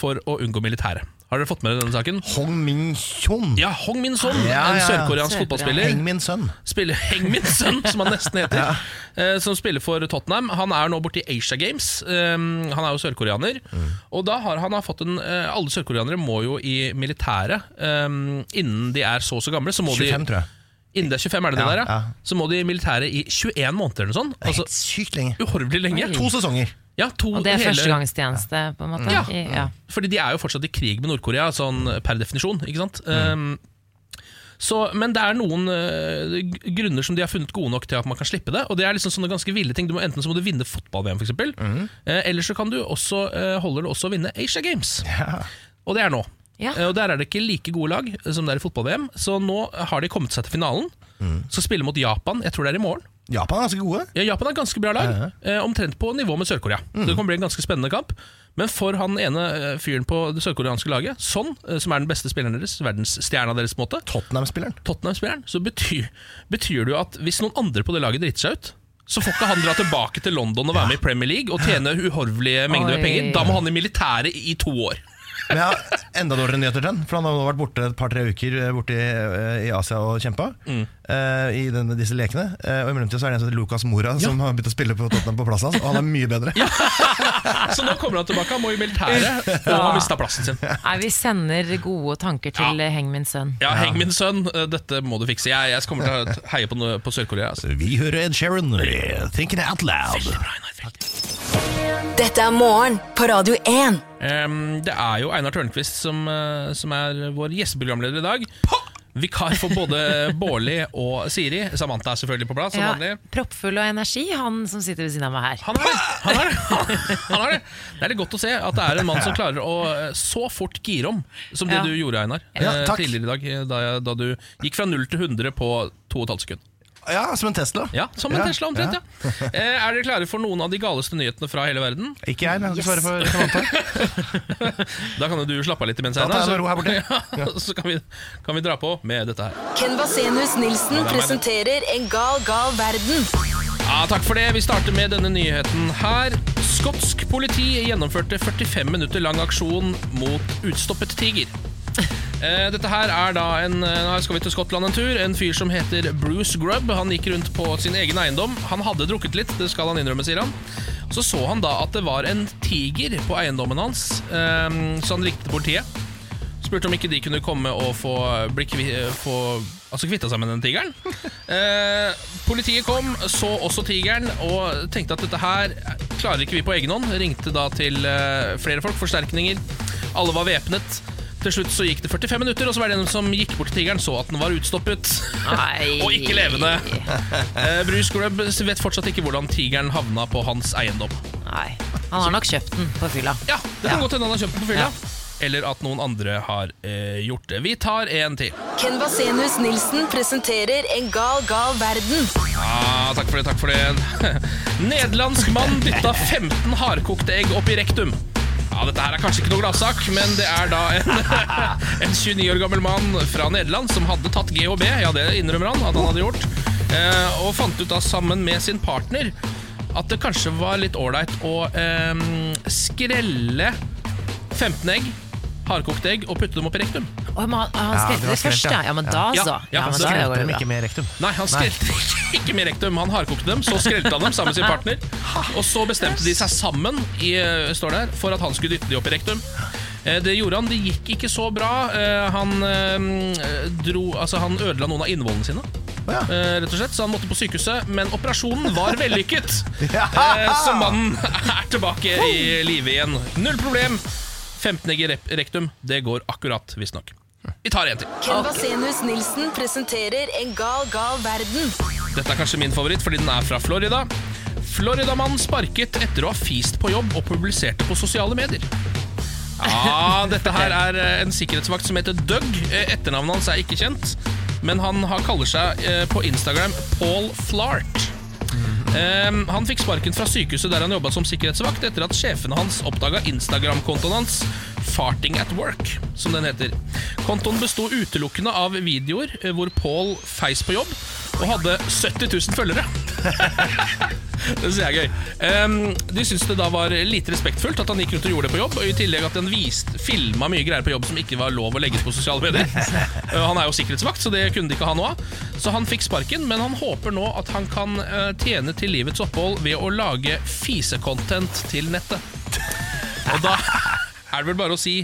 B: for å unngå militæret. Har dere fått med dere denne saken?
A: Hong Min Kyon.
B: Ja, Hong Min Son,
A: Ja, ja,
B: en
A: ja.
B: sørkoreansk
C: Sørkorea.
B: fotballspiller.
A: Heng min sønn.
B: Spiller Heng Min Son, som han nesten heter. eh, Som spiller for Tottenham. Han er nå borti Asia Games. eh, Han er jo sørkoreaner.
A: Mm.
B: Og da har han har fått en eh, Alle sørkoreanere må jo i militæret eh, innen de er så og så gamle. Så må
A: 25,
B: de,
A: tror jeg.
B: Innen det er 25, er det det
A: Ja,
B: der, ja?
A: ja.
B: Så må de i militæret i 21 måneder eller noe sånt.
A: Det er
B: Altså, Mm.
A: helt sykt lenge.
B: uhorvelig lenge.
A: To sesonger.
B: ja, to
C: Og det er
B: hele-
C: førstegangstjeneste, på en måte.
B: Ja.
C: I, ja.
B: Fordi de er jo fortsatt i krig med Nord-Korea, sånn per definisjon, ikke sant? Um, så, men det er noen eh, g- grunner som de har funnet gode nok til at man kan slippe det. Og det er liksom sånne ganske ville ting. Du må, enten så må du vinne fotball-VM, f.eks. eh, Mm. eller så kan du også, eh, holder det også å vinne Asia Games. Og det er nå.
C: Ja.
B: Eh, Og Der er det ikke like gode lag eh, som det er i fotball-VM. Så nå har de kommet seg til finalen. Skal spille mot Japan, jeg tror det er i morgen.
A: Japan er ganske gode.
B: Ja, Mm. Japan er et ganske bra lag, eh, omtrent på nivå med Sør-Korea. Så Det kan bli en ganske spennende kamp. Men for han ene eh, fyren på det sørkoreanske laget, Son, eh, som er den beste spilleren deres, verdensstjerna deres, på en måte,
A: Tottenham-spilleren.
B: Tottenham-spilleren, så betyr, betyr det jo at hvis noen andre på det laget driter seg ut, så får ikke han dra tilbake til London og være med i Premier League og tjene uhorvelige mengder
C: Oi.
B: med penger. Da må han i militæret i to år.
A: Men jeg har enda dårligere nyheter til den, for han har nå vært borte et par-tre uker eh, borte i, eh, i Asia og kjempa
B: Mm.
A: eh, i denne, disse lekene. Eh, og i mellomtida så er det en som heter Lucas Mora som har begynt å spille på Tottenham på plassen hans, og han er mye bedre.
B: Så nå kommer han tilbake, han må i militæret, og har mista plassen sin.
C: Nei, vi sender gode tanker til eh, Heng min sønn.
B: Ja, heng min sønn, eh, dette må du fikse. Jeg, jeg kommer til å heie på, no- på Sør-Korea. Altså.
A: Vi hører Ed Sheeran, eh, 'Thinking Out Loud'.
D: Dette er morgen på Radio 1.
B: Ehm, det er jo Einar Tørnquist som, eh, som er vår gjesteprogramleder i dag. Vikar for både Bårli og Siri. Samantha er selvfølgelig på plass. som
C: Ja,
B: vanlig
C: proppfull av energi, han som sitter ved siden av meg her.
B: Han er det! Han er det. Han er det. det er litt godt å se at det er en mann som klarer å eh, så fort gire om som det
C: Ja.
B: du gjorde, Einar. eh,
A: takk.
B: tidligere i dag, eh, da, jeg- da du gikk fra 0 til 100 på 2,5 sekunder.
A: Ja, som en Tesla.
B: Ja, som en
A: Ja,
B: Tesla omtrent, ja. Eh, Er dere klare for noen av de galeste nyhetene fra hele verden?
A: Ikke jeg, men jeg skal svare for Samantha.
B: Da kan jo du slappe av litt imens,
A: Da tar
B: Einar.
A: jeg meg ro her borte.
B: ja, så kan vi, kan vi dra på med dette her.
D: Ken Vasenus Nilsen
B: meg.
D: presenterer En gal, gal verden.
B: Ja, takk for det. Vi starter med denne nyheten her. Skotsk politi gjennomførte 45 minutter lang aksjon mot utstoppet tiger. Eh, Dette her er da en eh, Nå skal vi til Skottland en tur. En fyr som heter Bruce Grubb. Han gikk rundt på sin egen eiendom. Han hadde drukket litt, det skal han innrømme, sier han. Så så han da at det var en tiger på eiendommen hans, eh, så han ringte politiet. Spurte om ikke de kunne komme og få, bli kvi, få altså kvitta seg med den tigeren. Eh, politiet kom, så også tigeren og tenkte at dette her klarer ikke vi på egen hånd. Ringte da til eh, flere folk, forsterkninger. Alle var væpnet. Til slutt så gikk det 45 minutter, og så var det en som gikk bort til tigeren, så at den var utstoppet.
C: Nei.
B: og ikke levende. Eh, Bruce Grubb vet fortsatt ikke hvordan tigeren havna på hans eiendom.
C: Nei. Han har nok kjøpt den på fylla.
B: Ja, det kan godt hende han har kjøpt den på fylla. Eller at noen andre har eh, gjort det. Vi tar en til.
D: Ken Vasenus Nilsen presenterer En gal, gal verden.
B: Ja, Ah, takk for det, takk for det. Nederlandsk mann dytta 15 hardkokte egg opp i rektum. Ja, Dette her er kanskje ikke noe gladsak, men det er da en, en 29 år gammel mann fra Nederland som hadde tatt GHB, ja det innrømmer han at han hadde gjort, eh, og fant ut da sammen med sin partner at det kanskje var litt ålreit å eh, skrelle 15 egg, hardkokte egg, og putte dem opp i rektum.
C: Og han, han
A: Ja, det
C: skrelte
A: var
C: det først,
A: skrelt, ja.
C: ja. Ja, men da,
B: Ja,
C: så.
B: ja,
C: men
B: så
C: da
B: skrelte
C: går det
A: Dem
C: bra.
A: ikke med rektum.
B: Nei, han skrelte ikke med rektum, han hardkokte dem, så skrelte han dem sammen med sin partner. Og så bestemte de seg sammen i, eh, står der, for at han skulle dytte de opp i rektum. Eh, Det gjorde han, det gikk ikke så bra. Eh, Han, eh, dro, altså, han ødela noen av innvollene sine.
A: Å, ja.
B: eh, Rett og slett, så han måtte på sykehuset, men operasjonen var vellykket.
A: Ja.
B: Eh, Så mannen er tilbake i live igjen. Null problem. 15 egg i rep- rektum, det går akkurat, visstnok. Vi tar en til.
D: Ken Vasenus Nilsen presenterer En gal, gal verden.
B: Dette er kanskje min favoritt fordi den er fra Florida. Floridamann sparket etter å ha fist på jobb og publiserte på sosiale medier. Ja, dette her er eh, en sikkerhetsvakt som heter Doug. Eh, Etternavnet hans er ikke kjent, men han har- kaller seg eh, på Instagram Paul Flart. Ehm, han fikk sparken fra sykehuset der han jobba som sikkerhetsvakt, etter at sjefene hans oppdaga Instagram-kontoen hans, Farting at Work, som den heter. Kontoen besto utelukkende av videoer eh, hvor Paul feis på jobb, og hadde 70 000 følgere. Det synes jeg er gøy. Ehm, de syntes det da var lite respektfullt at han gikk rundt og gjorde det på jobb, og i tillegg at han vist- filma mye greier på jobb som ikke var lov å legge ut på sosiale medier. Eh, han er jo sikkerhetsvakt, så det kunne de ikke ha noe av. Så han fikk sparken, men han håper nå at han kan eh, tjene til livets opphold ved å lage fisecontent til nettet. Og da er det vel bare å si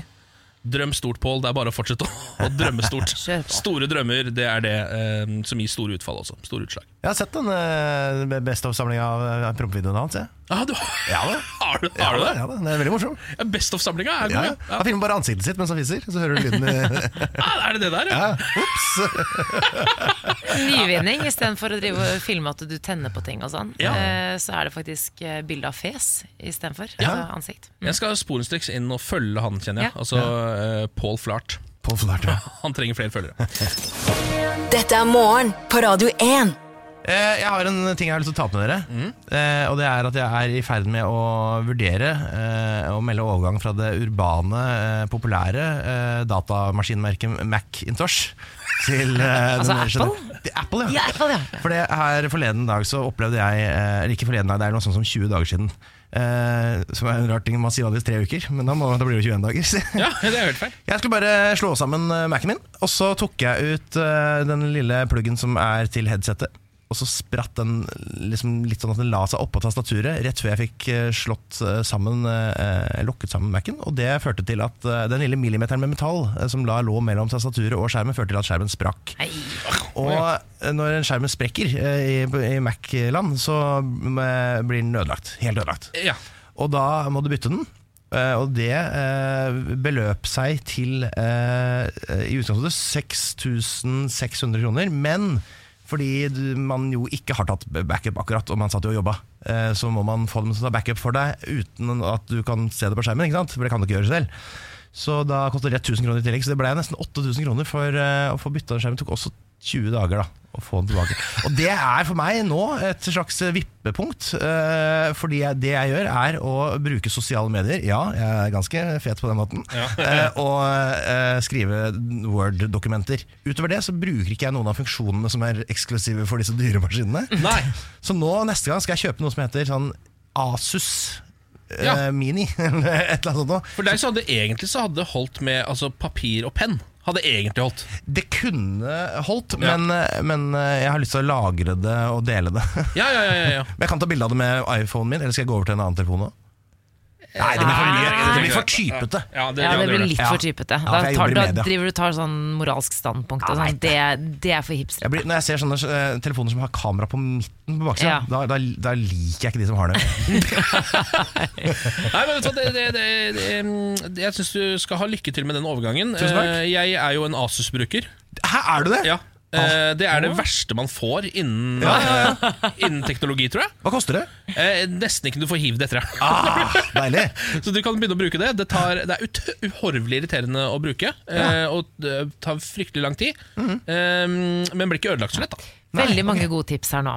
B: Drøm stort, Pål. Det er bare å fortsette å- å drømme stort.
C: Kjør på.
B: Store drømmer, det er det eh, som gir store utfall også. Store utslag.
A: Jeg har sett den eh, beste oppsamlinga av eh, prompevideoene hans. jeg.
B: Ah, du,
A: Ja, det.
B: Har du, har du det?
A: Ja, det, det er veldig morsom.
B: Ja, Best of-samlinga er
A: Ja,
B: god,
A: ja.
B: ja. ja.
A: Han filmer bare eh, ansiktet sitt mens han fiser, så hører du lyden i
B: Ah, er det det der, ja?
A: Ops!
C: Nyvinning. Istedenfor å drive og filme at du tenner på ting og sånn,
B: Ja.
C: eh, så er det faktisk eh, bilde av fjes istedenfor. Altså ansikt.
B: Jeg skal sporenstreks inn og følge han, kjenner jeg.
C: Ja.
B: Altså eh, Paul Flart.
A: På flert, ja.
B: Han trenger flere følgere.
D: Dette er morgen på Radio 1.
A: Eh, Jeg har en ting jeg har lyst til å ta opp med dere. Eh, og det er at jeg er i ferd med å vurdere eh, å melde overgang fra det urbane, eh, populære eh, datamaskinmerket Macintosh til eh,
C: Altså
A: den
C: Apple?
A: generelle- Til Apple,
C: Ja,
A: ja.
C: Apple, ja.
A: For det her forleden dag så opplevde jeg eh, Eller ikke forleden dag, det er noe sånt som 20 dager siden. Eh, som er en rar ting man sier vanligvis tre uker, men da, må, da blir det jo 21 dager. Så.
B: Ja, det er helt feil.
A: Jeg skulle bare slå sammen eh, Mac-en min, og så tok jeg ut eh, den lille pluggen som er til headsetet. Og så spratt den liksom litt sånn at den la seg oppå tastaturet rett før jeg fikk eh, slått eh, sammen eh, lokket sammen Mac-en. Og det førte til at eh, den lille millimeteren med metall eh, som la lå mellom tastaturet og skjermen, førte til at skjermen sprakk.
C: Nei.
A: Og eh, når en skjermen sprekker eh, i, i Mac-land, så eh, blir den ødelagt. Helt ødelagt.
B: Ja.
A: Og da må du bytte den. Eh, og det eh, beløp seg til eh, i utgangspunktet 6600 kroner. Men fordi du, man jo ikke har tatt backup akkurat, og man satt jo og jobba, eh, så må man få dem til å ta backup for deg uten at du kan se det på skjermen. ikke sant? For det kan du ikke gjøre selv. Så da koster det 1000 kroner i tillegg, så det ble nesten 8000 kroner for eh, å få bytta skjermen. Det tok også 20 dager da å få den tilbake. Og det er for meg nå et slags vippepunkt. eh, fordi jeg, det jeg gjør, er å bruke sosiale medier. Ja, jeg er ganske fet på den måten. eh, og eh, skrive Word-dokumenter. Utover det så bruker ikke jeg noen av funksjonene som er eksklusive for disse dyre maskinene.
B: Nei.
A: Så nå neste gang skal jeg kjøpe noe som heter sånn Asus eh,
B: Ja.
A: Mini, eller et eller annet sånt. noe.
B: For deg så hadde egentlig så hadde det holdt med altså, papir og penn. Hadde egentlig holdt.
A: Det kunne holdt,
B: Ja.
A: men, eh, men jeg har lyst til å lagre det og dele det.
B: Ja, ja, ja, ja, ja.
A: Men Jeg kan ta bilde av det med iPhonen min, eller skal jeg gå over til en annen telefon nå? Nei, det blir for mye. Det blir for typete.
B: Ja, det,
C: Ja, det blir
B: gjør
C: litt
A: Ja.
C: for typete.
A: Ja,
C: Da,
A: for jeg
C: tar,
A: jobber i
C: da
A: media.
C: driver du og tar sånn moralsk standpunkt. Og sånn. det, det er for hipster.
A: Jeg blir, når jeg ser sånne eh, telefoner som har kamera på midten på baksida,
C: Ja.
A: da, da, da liker jeg ikke de som har det.
B: Nei, men vet du hva, det, det, det, det, mm, det, Jeg syns du skal ha lykke til med den overgangen.
A: Tusen takk.
B: Eh, Jeg er jo en Asus-bruker.
A: Hæ, er du det?
B: Ja. Eh, Det er det verste man får innen, innen teknologi, tror jeg.
A: Hva koster det?
B: Eh, Nesten ikke du får hiv det etter deg.
A: Ah, deilig.
B: Så du kan begynne å bruke det. Det, tar, det er ut, uhorvelig irriterende å bruke, eh, og det tar fryktelig lang tid. eh, men blir ikke ødelagt så lett, da.
C: Veldig mange gode tips her nå.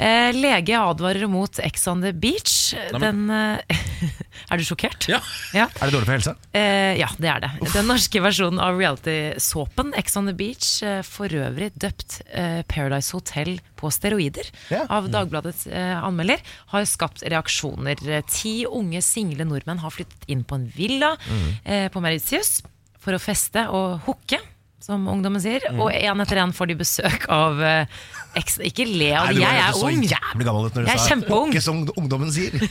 C: Eh, lege advarer mot Ex on the beach. Den, eh, er du sjokkert?
B: Ja.
C: ja.
A: Er det dårlig for helsa?
C: Eh, ja, det er det. Den norske versjonen av reality-såpen Ex on the Beach, eh, for øvrig døpt eh, Paradise Hotel på steroider
A: Ja. Mm.
C: av Dagbladets eh, anmelder, har skapt reaksjoner. Eh, Ti unge single nordmenn har flyttet inn på en villa
A: Mm.
C: eh, på Mauritius for å feste og hooke. Som ungdommen sier.
A: Mm.
C: Og én etter én får de besøk av eh, eks... Ikke le av
A: Nei, du
C: det, jeg
A: bare
C: er
A: så
C: ung!
A: jævlig gammel ut når du
C: Jeg er
A: sa
C: kjempeung.
A: Ikke som ungdommen sier.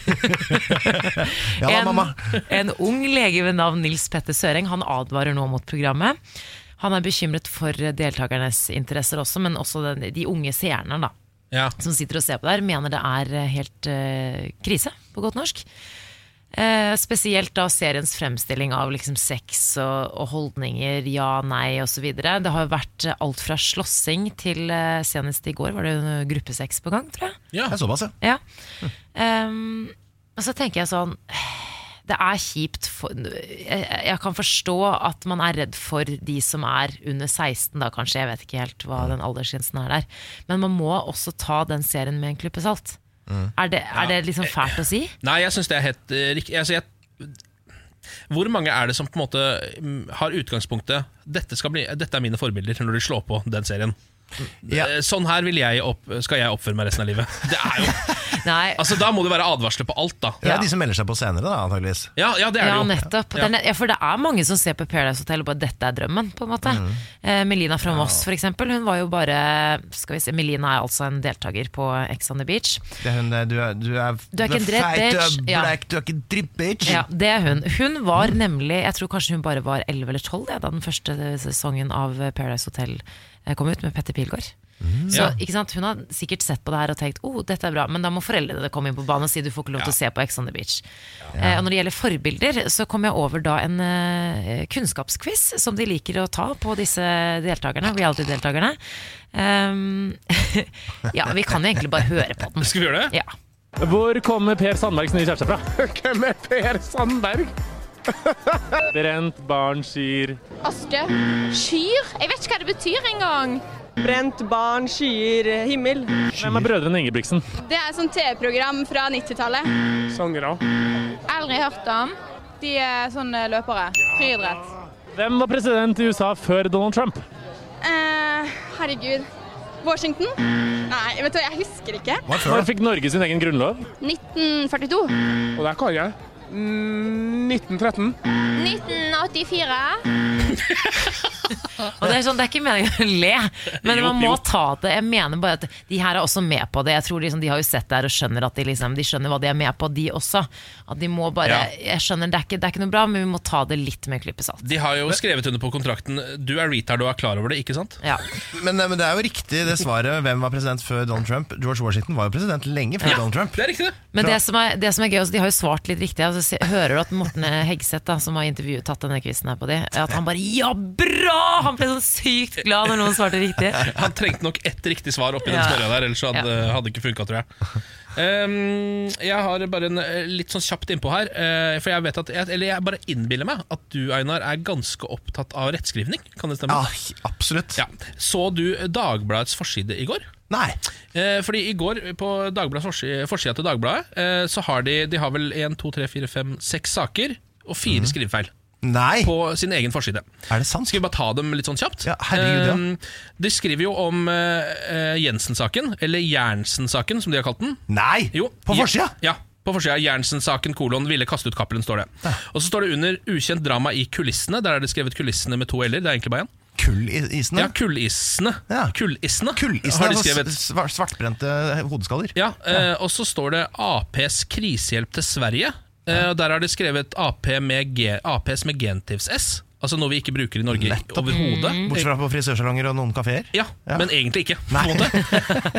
A: ja da, mamma.
C: en ung lege ved navn Nils Petter Søreng Han advarer nå mot programmet. Han er bekymret for deltakernes interesser også, men også den, de unge seerne da,
B: Ja.
C: som sitter og ser på der, mener det er eh, helt eh, krise, på godt norsk. Eh, spesielt da seriens fremstilling av liksom sex og, og holdninger, ja, nei osv. Det har jo vært eh, alt fra slåssing til eh, senest i går var det jo gruppesex på gang, tror jeg.
B: Ja.
A: Det er såpass, ja.
C: Ja. Ehm, og så tenker jeg sånn Det er kjipt for, jeg, jeg kan forstå at man er redd for de som er under 16, da kanskje. Jeg vet ikke helt hva den aldersgrensen er der. Men man må også ta den serien med en klype salt. Er, det, er det liksom fælt å si?
B: Nei, jeg syns det er helt eh, riktig. Altså, jeg, hvor mange er det som på en måte mm, har utgangspunktet dette, skal bli, 'Dette er mine forbilder', når de slår på den serien?
A: Ja.
B: Eh, Sånn her vil jeg opp, skal jeg oppføre meg resten av livet. Det er jo,
C: Nei,
B: altså, da må det være advarsler på alt, da.
A: Det er de som melder seg på senere, da, antageligvis.
B: Ja, ja det er
C: ja,
B: det jo.
C: nettopp. Den er- ja, for det er mange som ser på Paradise Hotel og bare 'dette er drømmen'. på en måte. Eh, Melina fra Moss, for eksempel. Hun var jo bare skal vi se, Melina er altså en deltaker på Ex on the Beach.
A: Det er hun der, du er, du er,
C: Du er ikke en dritt
A: feit,
C: bitch.
A: Du
C: Ja.
A: er black, du er ikke en dritt bitch.
C: Ja, det er hun. Hun var nemlig Jeg tror kanskje hun bare var 11 eller 12 ja, da den første sesongen av Paradise Hotel eh, kom ut med Petter Pilgaard. Så
B: Mhm. Ja.
C: ikke sant, Hun har sikkert sett på det her og tenkt oh, dette er bra, men da må foreldrene komme inn på banen og si du får ikke lov til å se på Ex on the Beach. Eh, og Når det gjelder forbilder, så kom jeg over da en eh, kunnskapsquiz som de liker å ta på disse deltakerne, reality-deltakerne. Ehm, ja, vi kan jo egentlig bare høre på den.
B: Skal vi gjøre det?
C: Ja.
F: Hvor kommer Per Sandbergs nye kjæreste fra? Hvem er Per Sandberg? Brent barn skyr
G: Aske. Skyr? Jeg vet ikke hva det betyr engang.
H: Brent barn skyer eh, himmel.
F: Hvem er brødrene Ingebrigtsen?
G: Det er et sånt TV-program fra 90-tallet.
F: Sangere.
G: Aldri hørt om. De er sånne løpere. Friidrett.
F: Hvem var president i USA før Donald Trump?
G: Eh, herregud. Washington? Nei, vet du hva, jeg husker ikke.
F: Når fikk Norge sin egen grunnlov?
G: 1942.
F: Og der kan jeg. Mm, 1913.
G: 1984.
C: Og det er, sånn, det er ikke meningen å le, men
B: Jo,
C: man må
B: jo.
C: ta det. Jeg mener bare at De her er også med på det. Jeg tror liksom, De har jo sett det her og skjønner at de, liksom, de skjønner hva de er med på, de også. At de må bare, Jeg skjønner det er, ikke, det er ikke noe bra, men vi må ta det litt med en klype salt.
B: De har jo skrevet under på kontrakten 'du er retard og er klar over det', ikke sant?
C: Ja.
A: Men, eh, men det er jo riktig det svaret. Hvem var president før Donald Trump? George Washington var jo president lenge før Donald Trump.
B: Det er riktig, det.
C: Men det som, er, det som er gøy, også, de har jo svart litt riktig. Altså, se- hører du at Morten Hegseth, da, som har intervjuet tatt denne quizen her på de, at han bare Ja, bra! Han ble sånn sykt glad når noen svarte riktig.
B: Han trengte nok ett riktig svar oppi
C: Ja.
B: den snørra der, ellers så hadde hadde ikke funka, tror jeg. Ehm, jeg har bare en eh, litt sånn kjapt innpå her, eh, for jeg vet at jeg, Eller jeg bare innbiller meg at du, Einar, er ganske opptatt av rettskrivning. Kan det stemme?
A: Ja, Ah, absolutt.
B: Ja. Så du Dagbladets forside i går?
A: Nei.
B: Eh, fordi i går på Dagbladets forsi- forsida til Dagbladet eh, Så har de De har vel 1, 2, 3, 4, 5, 6 saker og fire skrivefeil
A: Nei.
B: på sin egen forside.
A: Er det sant?
B: Skal vi bare ta dem litt sånn kjapt?
A: Ja, herregud, ja.
B: Eh, De skriver jo om eh, eh, Jensen-saken, eller Jernsen-saken, som de har kalt den.
A: Nei!
B: Jo,
A: På
B: Je-
A: forsida!
B: Ja, på forsida. Jernsen-saken, kolon, ville kaste ut Cappelen, står det. Og så står det under 'ukjent drama i kulissene'. Der er det skrevet 'kulissene' med to l-er. Det er egentlig bare én.
A: Kullisene.
B: Ja, kullissene.
A: Ja.
B: Kullissene,
A: Kullisene,
B: har de
A: altså
B: skrevet.
A: svar- svartbrente hodeskaller.
B: Ja, eh, og så står det APs krisehjelp til Sverige. Eh, og der har de skrevet AP med G, APs med gentivs-s. Altså noe vi ikke bruker i Norge
A: Nettopp.
B: overhodet.
A: Bortsett fra på frisørsalonger og noen kafeer.
B: Ja, men egentlig ikke. På en måte.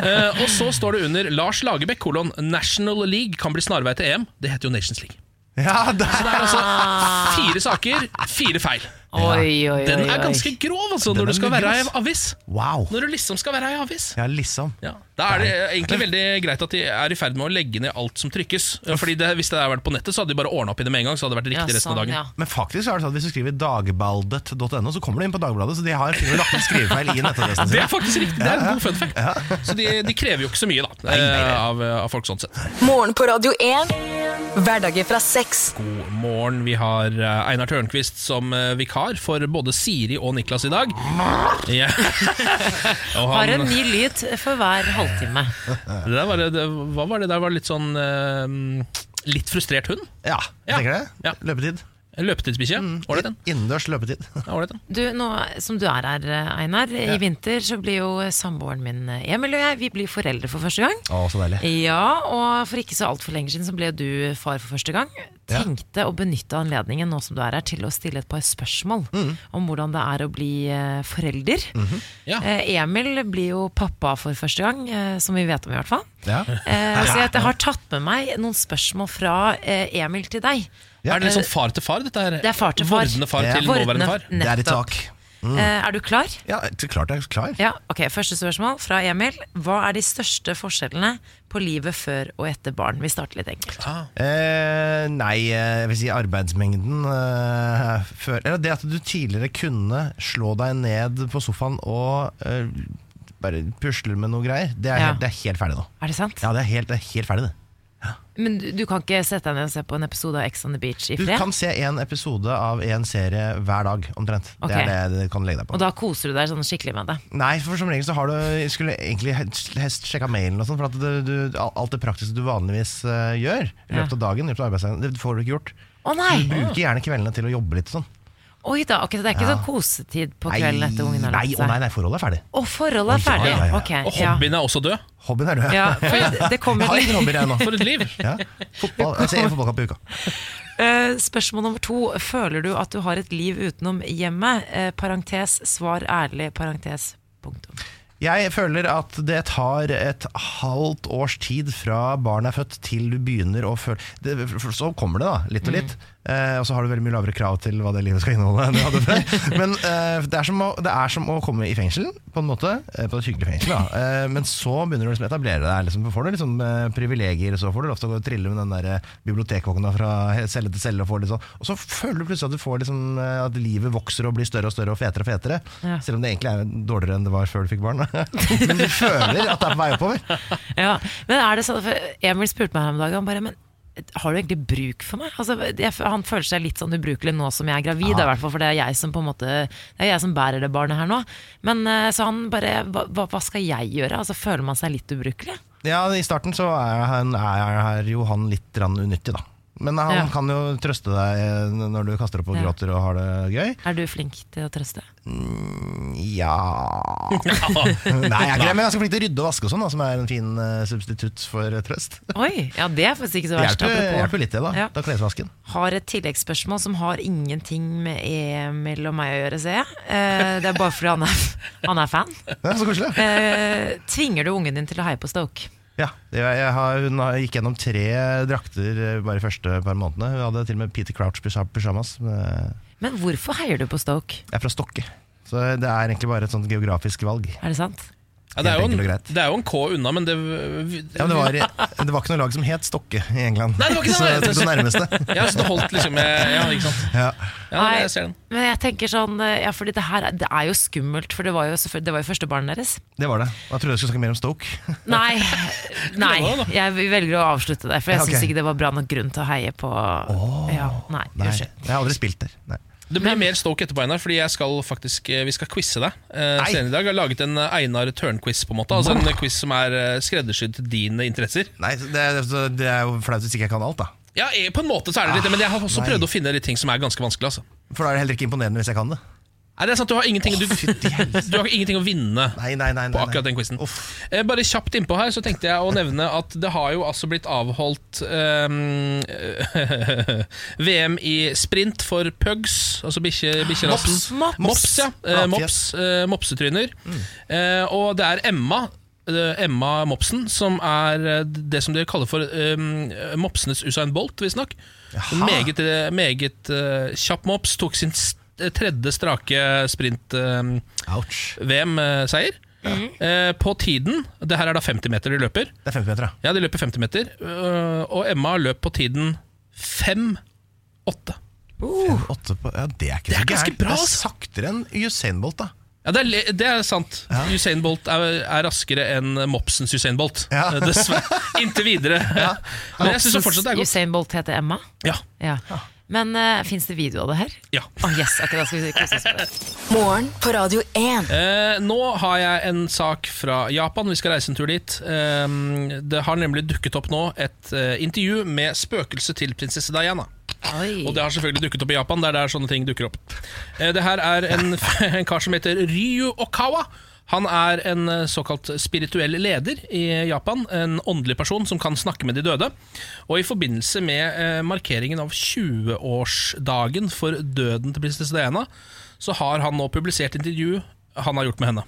B: Eh, og så står det under Lars Lagerbäck, kolon National League kan bli snarvei til EM. Det heter jo Nations League.
A: Ja, der.
B: Det er altså fire saker, fire feil.
C: Oi, oi, oi.
B: Den er
C: oi.
B: ganske grov, altså, når
A: er
B: du skal være ei
A: grov.
B: avis.
A: Wow.
B: Når du liksom skal være ei avis.
A: Ja, liksom.
B: Ja. Da er det egentlig veldig greit at de er i ferd med å legge ned alt som trykkes. Eh, Fordi det, Hvis det hadde vært på nettet, så hadde de bare ordna opp i det med en gang. Så hadde det vært
C: Ja,
B: riktig resten av
C: sånn,
B: dagen
C: ja.
A: Men faktisk er det sånn at hvis du skriver dagbaldet.no, så kommer du inn på Dagbladet. Så de har funnet lagt en skrivefeil i nettadressen
B: Det er
A: sin.
B: faktisk riktig, det er en god fun fact. Så de, de krever jo ikke så mye da eh, av, av folk sånn sett.
D: Morgen på Radio 1. Hverdager fra seks.
B: God morgen. Vi har eh, Einar Tørnquist som eh, vikar for både Siri og Niklas i dag. Ja. Og
C: Har
B: han,
C: en ny lyd for hver halvtime.
B: det der var, det, hva var det der? Var det litt sånn eh, Litt frustrert hund?
A: Ja, jeg tenker
B: Ja.
A: det. Løpetid.
B: Løpetidsbikkje? Ålreit, den.
A: Innendørs løpetid.
B: Ja, ålreit den.
C: Du, nå som du er her, Einar, i vinter så blir jo samboeren min Emil og jeg Vi blir foreldre for første gang.
A: Å, så deilig.
C: Ja, og for ikke så altfor lenge siden så ble jo du far for første gang. Tenkte å benytte anledningen nå som du er her til å stille et par spørsmål om hvordan det er å bli eh, forelder.
B: Ja.
C: Eh, Emil blir jo pappa for første gang, eh, som vi vet om i hvert fall.
A: Ja.
C: Eh, så jeg har tatt med meg noen spørgsmål fra eh, Emil til deg.
B: Er
A: eh,
B: det litt sånn far til far, dette her?
C: Det er far til far.
B: Vordende far
A: Ja.
B: til nåværende far?
C: Vordende-
A: Det er i
C: nettopp.
A: tak.
C: Eh, er du klar?
A: Ja, så klart jeg er klar.
C: Ja, ok, Første spørsmål fra Emil. Hva er de største forskjellene på livet før og etter barn? Vi starter litt enkelt.
A: Eh, nei, eh, jeg vil si arbeidsmengden eh, før, eller Det at du tidligere kunne slå deg ned på sofaen og eh, bare pusle med noe greier, det er,
C: Ja.
A: helt, det er helt ferdig nå.
C: Er det sant?
A: Ja, det er helt, det er helt ferdig, det.
C: Men du, du kan ikke sette deg ned og se på en episode av Ex on the Beach i
A: Du
C: fred?
A: kan se en episode av en serie hver dag, omtrent. Det
C: Ok.
A: er det du kan legge deg på.
C: Og da koser du deg sånn skikkelig med det?
A: Nei, for som regel så har du Jeg skulle egentlig helst helst sjekka mailen og sånn, for at du, du, alt det praktiske du vanligvis eh, gjør i løpet av dagen, i løpet av arbeidsdagen, det får du ikke gjort.
C: Å
A: Du
C: nei!
A: bruker gjerne kveldene til å jobbe litt og sånn.
C: Oi da, ok, Det er ikke sånn kosetid på
A: Nei,
C: kvelden etter ungen har
A: nei,
C: lagt
A: å nei,
C: seg?
A: nei, forholdet er ferdig.
C: Å, forholdet er ferdig!
A: ja, ja.
C: Ok,
B: Og
C: ja.
B: hobbyen er også død?
A: Hobbyen er død.
C: Ja, for det
A: Jeg
C: kommer
A: har ingen
C: til
A: hobbyer, jeg nå.
B: For et liv!
A: Ja. Fotball, altså, jeg ser en fotballkamp i uka.
C: Eh, Spørsmål nummer to. Føler du at du har et liv utenom hjemmet? Eh, Parentes svar ærlig, parentes punktum.
A: Jeg føler at det tar et halvt års tid fra barn er født til du begynner å føle det, for Så kommer det, da, litt og litt. Eh, og så har du veldig mye lavere krav til hva det livet skal inneholde. enn du hadde før. Men eh, det, er som å, det er som å komme i fengsel, på en måte. Eh, på et hyggelig fengsel, da. Eh, men så begynner du liksom å etablere deg. Liksom, får du liksom eh, privilegier, så får du lov til å gå og trille med den der eh, bibliotekvogna fra celle til celle. Og, får litt sånn. og så føler du plutselig at, du får liksom, eh, at livet vokser og blir større og større og fetere og fetere.
C: Ja.
A: Selv om det egentlig er dårligere enn det var før du fikk barn. da. men du føler at det er på vei oppover.
C: Ja, men er det sånn, for Emil spurte meg her om dagen, han bare, men har du egentlig bruk for meg? Altså, jeg, han føler seg litt sånn ubrukelig nå som jeg er gravid, i hvert fall, for det er jeg som på en måte, det er jeg som bærer det barnet her nå. Men eh, så han bare, hva, hva- hva skal jeg gjøre? Altså, føler man seg litt ubrukelig?
A: Ja, I starten så er, han, er, er jo han litt grann unyttig, da. Men han
C: Ja.
A: kan jo trøste deg eh, når du kaster opp og
C: Ja.
A: gråter og har det gøy.
C: Er du flink til å trøste?
A: Ja Nei, jeg er ikke det, men jeg er ganske flink til å rydde og vaske og sånn, da, som er en fin eh, substitutt for eh, trøst.
C: Oi, ja det er faktisk ikke så
A: Det
C: verst.
A: hjelper
C: apropos.
A: hjelper litt, det, da.
C: Ja.
A: Da klesvasken.
C: Har et tilleggsspørsmål som har ingenting med Emil og meg å gjøre, ser jeg. Eh, det er bare fordi han er, han er fan.
A: Det er så koselig.
C: Eh, tvinger du ungen din til å heie på Stoke?
A: Ja, det var- jeg har, hun har, gikk gjennom tre drakter eh, bare de første par månedene. Hun hadde til og med Peter Crouch pysjamas. Jeg
C: Men hvorfor heier du på Stoke?
A: er fra Stokke, så det er egentlig bare et sånt geografisk valg.
C: Er det sant?
B: Ja, det, er jo
A: Helt
B: en,
A: enkelt og greit.
B: det er jo en K unna, men det vi-
A: Ja, men det, var, det var ikke noe lag som het Stokke i England.
B: Nei, det var ikke det.
A: så jeg tok det nærmeste.
B: Ja, så det holdt liksom jeg, Ja, ikke sant.
A: Ja.
B: Ja, men
C: Nei.
B: jeg ser den.
C: Men jeg tenker sånn, eh, ja, fordi det her er- det er jo skummelt, for det var jo, selvføl- det var jo første barnet deres.
A: Det var det. Jeg trodde jeg skulle snakke mer om Stoke.
C: Nei, nei,
B: Prøv da, da.
C: jeg velger å avslutte det, for jeg
A: Ja,
C: syns
A: ok.
C: ikke det var bra nok grunn til å heie på ja, Nei,
A: Nei,
C: unnskyld.
A: jeg har aldri spilt der. Nei.
B: Det blir mer Stoke etterpå, Einar, fordi jeg skal faktisk, eh, vi skal quize deg. eh,
A: Nei.
B: senere i dag. Jeg har laget en eh, Einar Tørn-quiz, på en måte. Altså en eh, quiz som er eh, skreddersydd til dine interesser.
A: Nei, det, det- det er jo flaut hvis ikke jeg kan alt, da.
B: Ja, eh, på en måte så er det litt det, men jeg har
A: Ah,
B: også
A: Nei.
B: prøvd å finne litt ting som er ganske vanskelig. altså
A: For da er det heller ikke imponerende hvis jeg kan det.
B: Nei, det er sant, Du har ingenting, du,
A: fytti helsike.
B: du har ingenting å vinne
A: Nei, nei, nei, nei,
B: på
A: nei.
B: akkurat den quizen.
A: Uff.
B: Eh, Bare kjapt innpå her så tenkte jeg å nevne at det har jo altså blitt avholdt eh, VM i sprint for pugs, altså bikkje- bikkjerasen.
C: Mops.
B: Mops, ja. Eh, Mops, eh, mopsetryner. Eh, og det er Emma. eh, Emma Mopsen, som er eh, det som dere kaller for eh, mopsenes Usain Bolt, visstnok. En meget, eh, meget eh, kjapp mops. Tok sin s- eh, tredje strake eh, sprint-VM-seier.
A: Ouch.
B: eh, på tiden Det her er da 50 meter de løper.
A: Det er 50 meter, ja.
B: Ja, de løper 50 meter. øh, og Emma løp på tiden 5-8.
C: Uh.
A: Åtte på, ja, det er ikke
B: Det er
A: så
B: ganske
A: gærent.
B: bra,
A: Det er
B: altså. ass.
A: saktere enn Usain Bolt, da.
B: Ja, det er, le- det er sant. Usain Bolt er, er raskere enn mopsens Usain Bolt.
A: Ja.
B: Eh, Dessverre. Inntil videre. Men jeg syns fortsatt det er godt.
C: Usain Bolt heter Emma.
B: Ja,
C: Ja. Men uh, fins det video av det her?
B: ja.
C: Å yes, ok, da skal vi kose oss med det.
D: Morgen på Radio 1.
B: Eh, nå har jeg en sak fra Japan. Vi skal reise en tur dit. Eh, det har nemlig dukket opp nå et eh, intervju med spøkelset til prinsesse Diana.
C: Oi.
B: Og det har selvfølgelig dukket opp i Japan, det er der sånne ting dukker opp. Eh, Det her er en, en kar som heter Ryu Okawa. Han er en eh, såkalt spirituell leder i Japan. En åndelig person som kan snakke med de døde. Og i forbindelse med eh, markeringen av 20-årsdagen for døden til prinsesse Diana, så har han nå publisert intervju han har gjort med henne.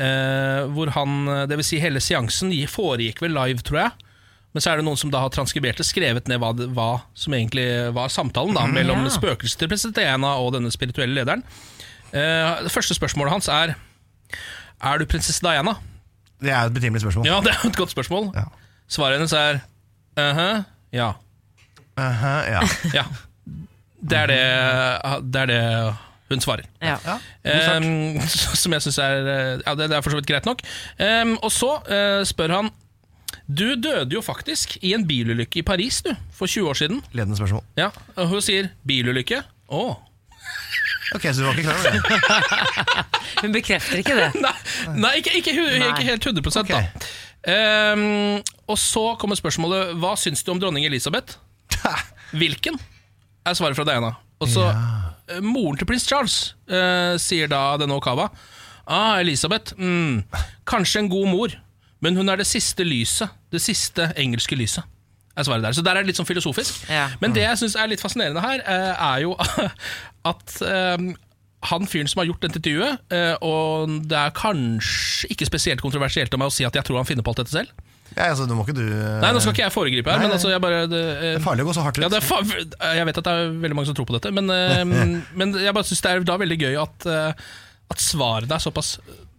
B: Eh, hvor han, eh, det vil si hele seansen gi- foregikk vel live, tror jeg. Men så er det noen som da har transkribert det, skrevet ned hva, det- hva som egentlig var samtalen da, mellom
C: ja.
B: spøkelset til president Diana og denne spirituelle lederen. Eh, det første spørsmålet hans er Er du prinsesse Diana?
A: Det er jo et betimelig spørsmål.
B: Ja, det er jo et godt spørsmål.
A: Ja.
B: Svaret hennes er «Mhm, ja.
A: Aha, ja.
B: ja. Det er det, det er det hun svarer.
C: Ja.
B: Ehm, som jeg syns er eh, Ja, det, det er for så vidt greit nok. Ehm, og så eh, spør han Du døde jo faktisk i en bilulykke i Paris, du, for 20 år siden.
A: Ledende spørsmål.
B: Ja, og hun sier 'bilulykke'. Å.
A: Ok, så du var ikke klar over det?
C: Hun bekrefter ikke det.
B: Nei, nei ikke, ikke, hu-
C: Nei.
B: ikke helt 100 da.
A: Ok.
B: Ehm, og så kommer spørsmålet 'Hva syns du om dronning Elisabeth?' Hvilken? er svaret fra Diana. Og så eh, Moren til prins Charles eh, sier da denne Okawa Ah, Elisabeth. Mm, kanskje en god mor, men hun er det siste lyset. Det siste engelske lyset. Er svaret der. Så der er det litt sånn filosofisk.
A: Mm.
C: Ja.
B: Men det jeg syns er litt fascinerende her, eh, er jo at eh, han fyren som har gjort dette intervjuet, eh, og det er kanskje ikke spesielt kontroversielt av meg å si at jeg tror han finner på alt dette selv.
A: Ja, altså, nå må ikke du eh,
B: Nei, nå skal ikke jeg foregripe her,
A: Nei,
B: men
A: nei.
B: altså, jeg bare Det, eh,
A: Det er farlig å gå så hardt ut.
B: ja, det er fa jeg vet at det er veldig mange som tror på dette, men, eh, men jeg bare syns det er da veldig gøy at, eh, at svarene er såpass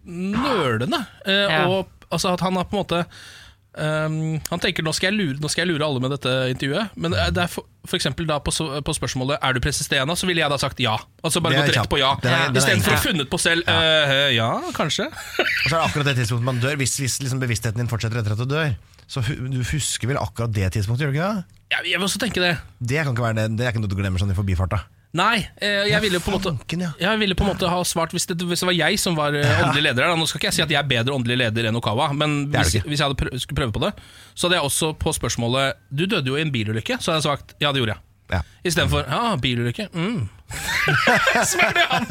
B: nølende. eh,
C: Ja.
B: Og altså, at han har på en måte eh, han tenker nå skal, jeg lure, nå skal jeg lure alle med dette intervjuet. Men eh, det er for, for eksempel da på, så- på spørsmålet Er du presesteana, så ville jeg da sagt ja. Altså Bare
A: Det er
B: gått
A: kjapt.
B: rett på ja.
A: Den er- den er
B: Istedenfor å
A: enkel.
B: funnet på selv. eh, ja, kanskje.
A: Og så er det akkurat det tidspunktet man dør. Hvis, hvis liksom bevisstheten din fortsetter etter at du dør, så hu du husker vel akkurat det tidspunktet, gjør du ikke det?
B: Jeg, jeg vil også tenke det.
A: Det kan ikke være det, det er ikke noe du glemmer sånn i forbifarta.
B: Nei, eh, jeg ville på en måte
A: Fanken, ja.
B: Jeg ville på en måte ha svart hvis det, hvis det var jeg som var eh, åndelig leder her. da. Nå skal ikke jeg si at jeg er bedre åndelig leder enn Okawa, men
A: Det er du
B: hvis,
A: ikke.
B: hvis jeg hadde prøv, skulle prøve på det, så hadde jeg også på spørsmålet Du døde jo i en bilulykke, så hadde jeg sagt ja, det gjorde jeg.
A: Ja.
B: Istedenfor ja, bilulykke. Mm. som er det han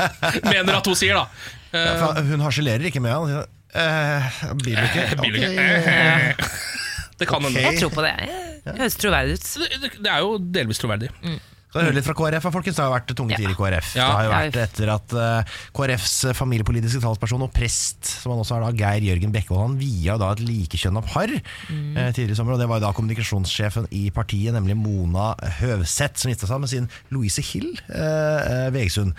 B: mener at hun sier, da.
A: For Hun harselerer ikke med han. Eh, bilulykke.
B: Bilulykke.
A: Ok.
B: Det kan hende.
C: Jeg tror på det. Det høres troverdig ut.
B: Det, det- det er jo delvis troverdig.
A: Skal vi høre litt fra KrF, da, folkens. Det har jo vært tunge tider i KrF.
B: Ja.
A: Det har jo
C: Ja,
A: vært etter at eh, KrFs familiepolitiske talsperson og prest, som han også er da, Geir Jørgen Bekkevold, han via da et likekjønna par eh, tidligere i sommer. Og det var jo da kommunikasjonssjefen i partiet, nemlig Mona Høvseth, som gifta seg med sin Louise Hill eh, eh, Vegsund.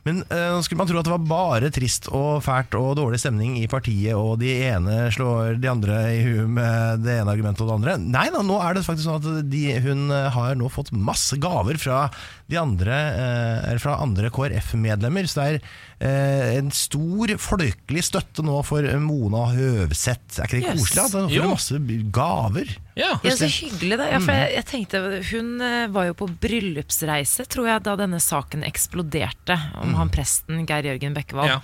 A: Men eh, nå skulle man tro at det var bare trist og fælt og dårlig stemning i partiet, og de ene slår de andre i huet med det ene argumentet og det andre. Nei da, nå er det faktisk sånn at de, hun eh, har nå fått masse gaver fra, de andre, eh, eller fra andre KrF-medlemmer. Så det er eh, en stor folkelig støtte nå for Mona Høvseth. Er ikke det
C: Yes.
A: koselig? At hun
B: Jo.
A: får masse gaver.
B: Ja.
C: Ja, så hyggelig da. Ja, for
A: Mm.
C: jeg, jeg tenkte, hun eh, var jo på bryllupsreise, tror jeg, da denne saken eksploderte
A: Mm.
C: om han presten Geir Jørgen Bekkevold.
B: Ja.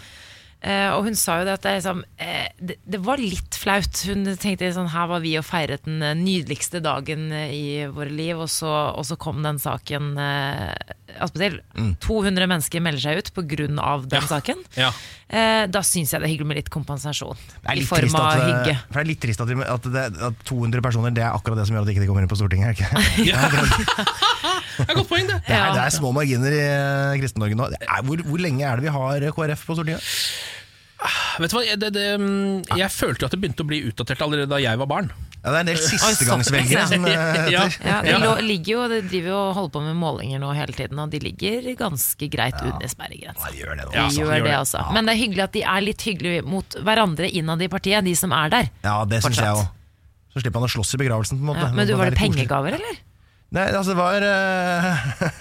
C: Eh, og hun sa jo det at det, er liksom, eh, det, det var litt flaut. Hun tenkte sånn her var vi og feiret den eh, nydeligste dagen eh, i våre liv, og så, og så kom den saken eh, Attpåtil.
A: Mm.
C: 200 mennesker melder seg ut pga. den saken.
B: Ja.
C: Eh, da syns jeg det er hyggelig med litt kompensasjon.
A: Det er
C: I
A: litt
C: form
A: trist
C: av
A: at, eh,
C: hygge.
A: For det er litt trist at, vi, at, det, at 200 personer Det er akkurat det som gjør at de ikke kommer inn på Stortinget. er det Ikke?
B: ja. Det er et godt poeng, det.
A: Det er,
C: Ja.
A: det er små marginer i eh, Kristen-Norge nå. Det er, hvor, hvor lenge er det vi har eh, KrF på Stortinget?
B: Vet du hva, det, det, mm,
A: Ah.
B: Jeg følte jo at det begynte å bli utdatert allerede da jeg var barn.
A: Ja, det er en del sistegangsvelgere som eh,
B: Ja.
A: heter.
C: Ja, de lå- ligger jo, de driver jo og holder på med målinger nå hele tiden, og de ligger ganske greit under
A: Ja,
C: sperregrensen.
A: de gjør det nå.
C: De
B: Ja, altså,
C: gjør
B: de gjør
C: det,
B: det.
C: altså. Men det er hyggelig at de er litt hyggelige mot hverandre innad i partiet, de som er der.
A: Ja, det syns
C: Fortsatt.
A: jeg òg. Så slipper han å slåss i begravelsen. på en måte
C: Ja, men
A: Nå
C: du,
A: må
C: var
A: være
C: det
A: litt koselig.
C: pengegaver, eller?
A: Nei, altså det var eh,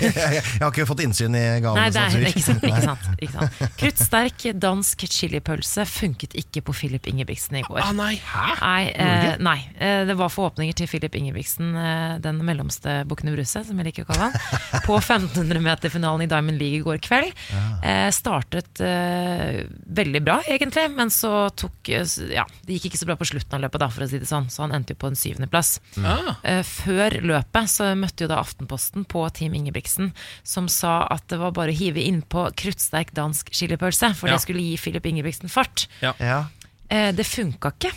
A: Jeg har ikke fått innsyn i gavene.
C: Nei, det
A: så jeg
C: er
A: tror
C: ikke sant. Ikke sant, ikke sant. Kruttsterk dansk chilipølse funket ikke på Filip Ingebrigtsen i går.
B: Ah, nei.
C: Nei, eh, nei. Eh, det var forhåpninger til Filip Ingebrigtsen, eh, den mellomste Bukkene Bruse, som jeg liker å kalle han, på 1500-meterfinalen i Diamond League i går kveld. Eh, startet eh, veldig bra, egentlig, men så tok eh, s- Ja, det gikk ikke så bra på slutten av løpet, da, for å si det sånn, så han endte jo på en syvendeplass.
B: Ah.
C: Eh, Før løpet så møtte jo da Aftenposten på Team Ingebrigtsen, som sa at det var bare å hive innpå kruttsterk dansk chilipølse, for
B: Ja.
C: det skulle gi Filip Ingebrigtsen fart.
A: ikke- Ja.
C: Eh, Det funka ikke.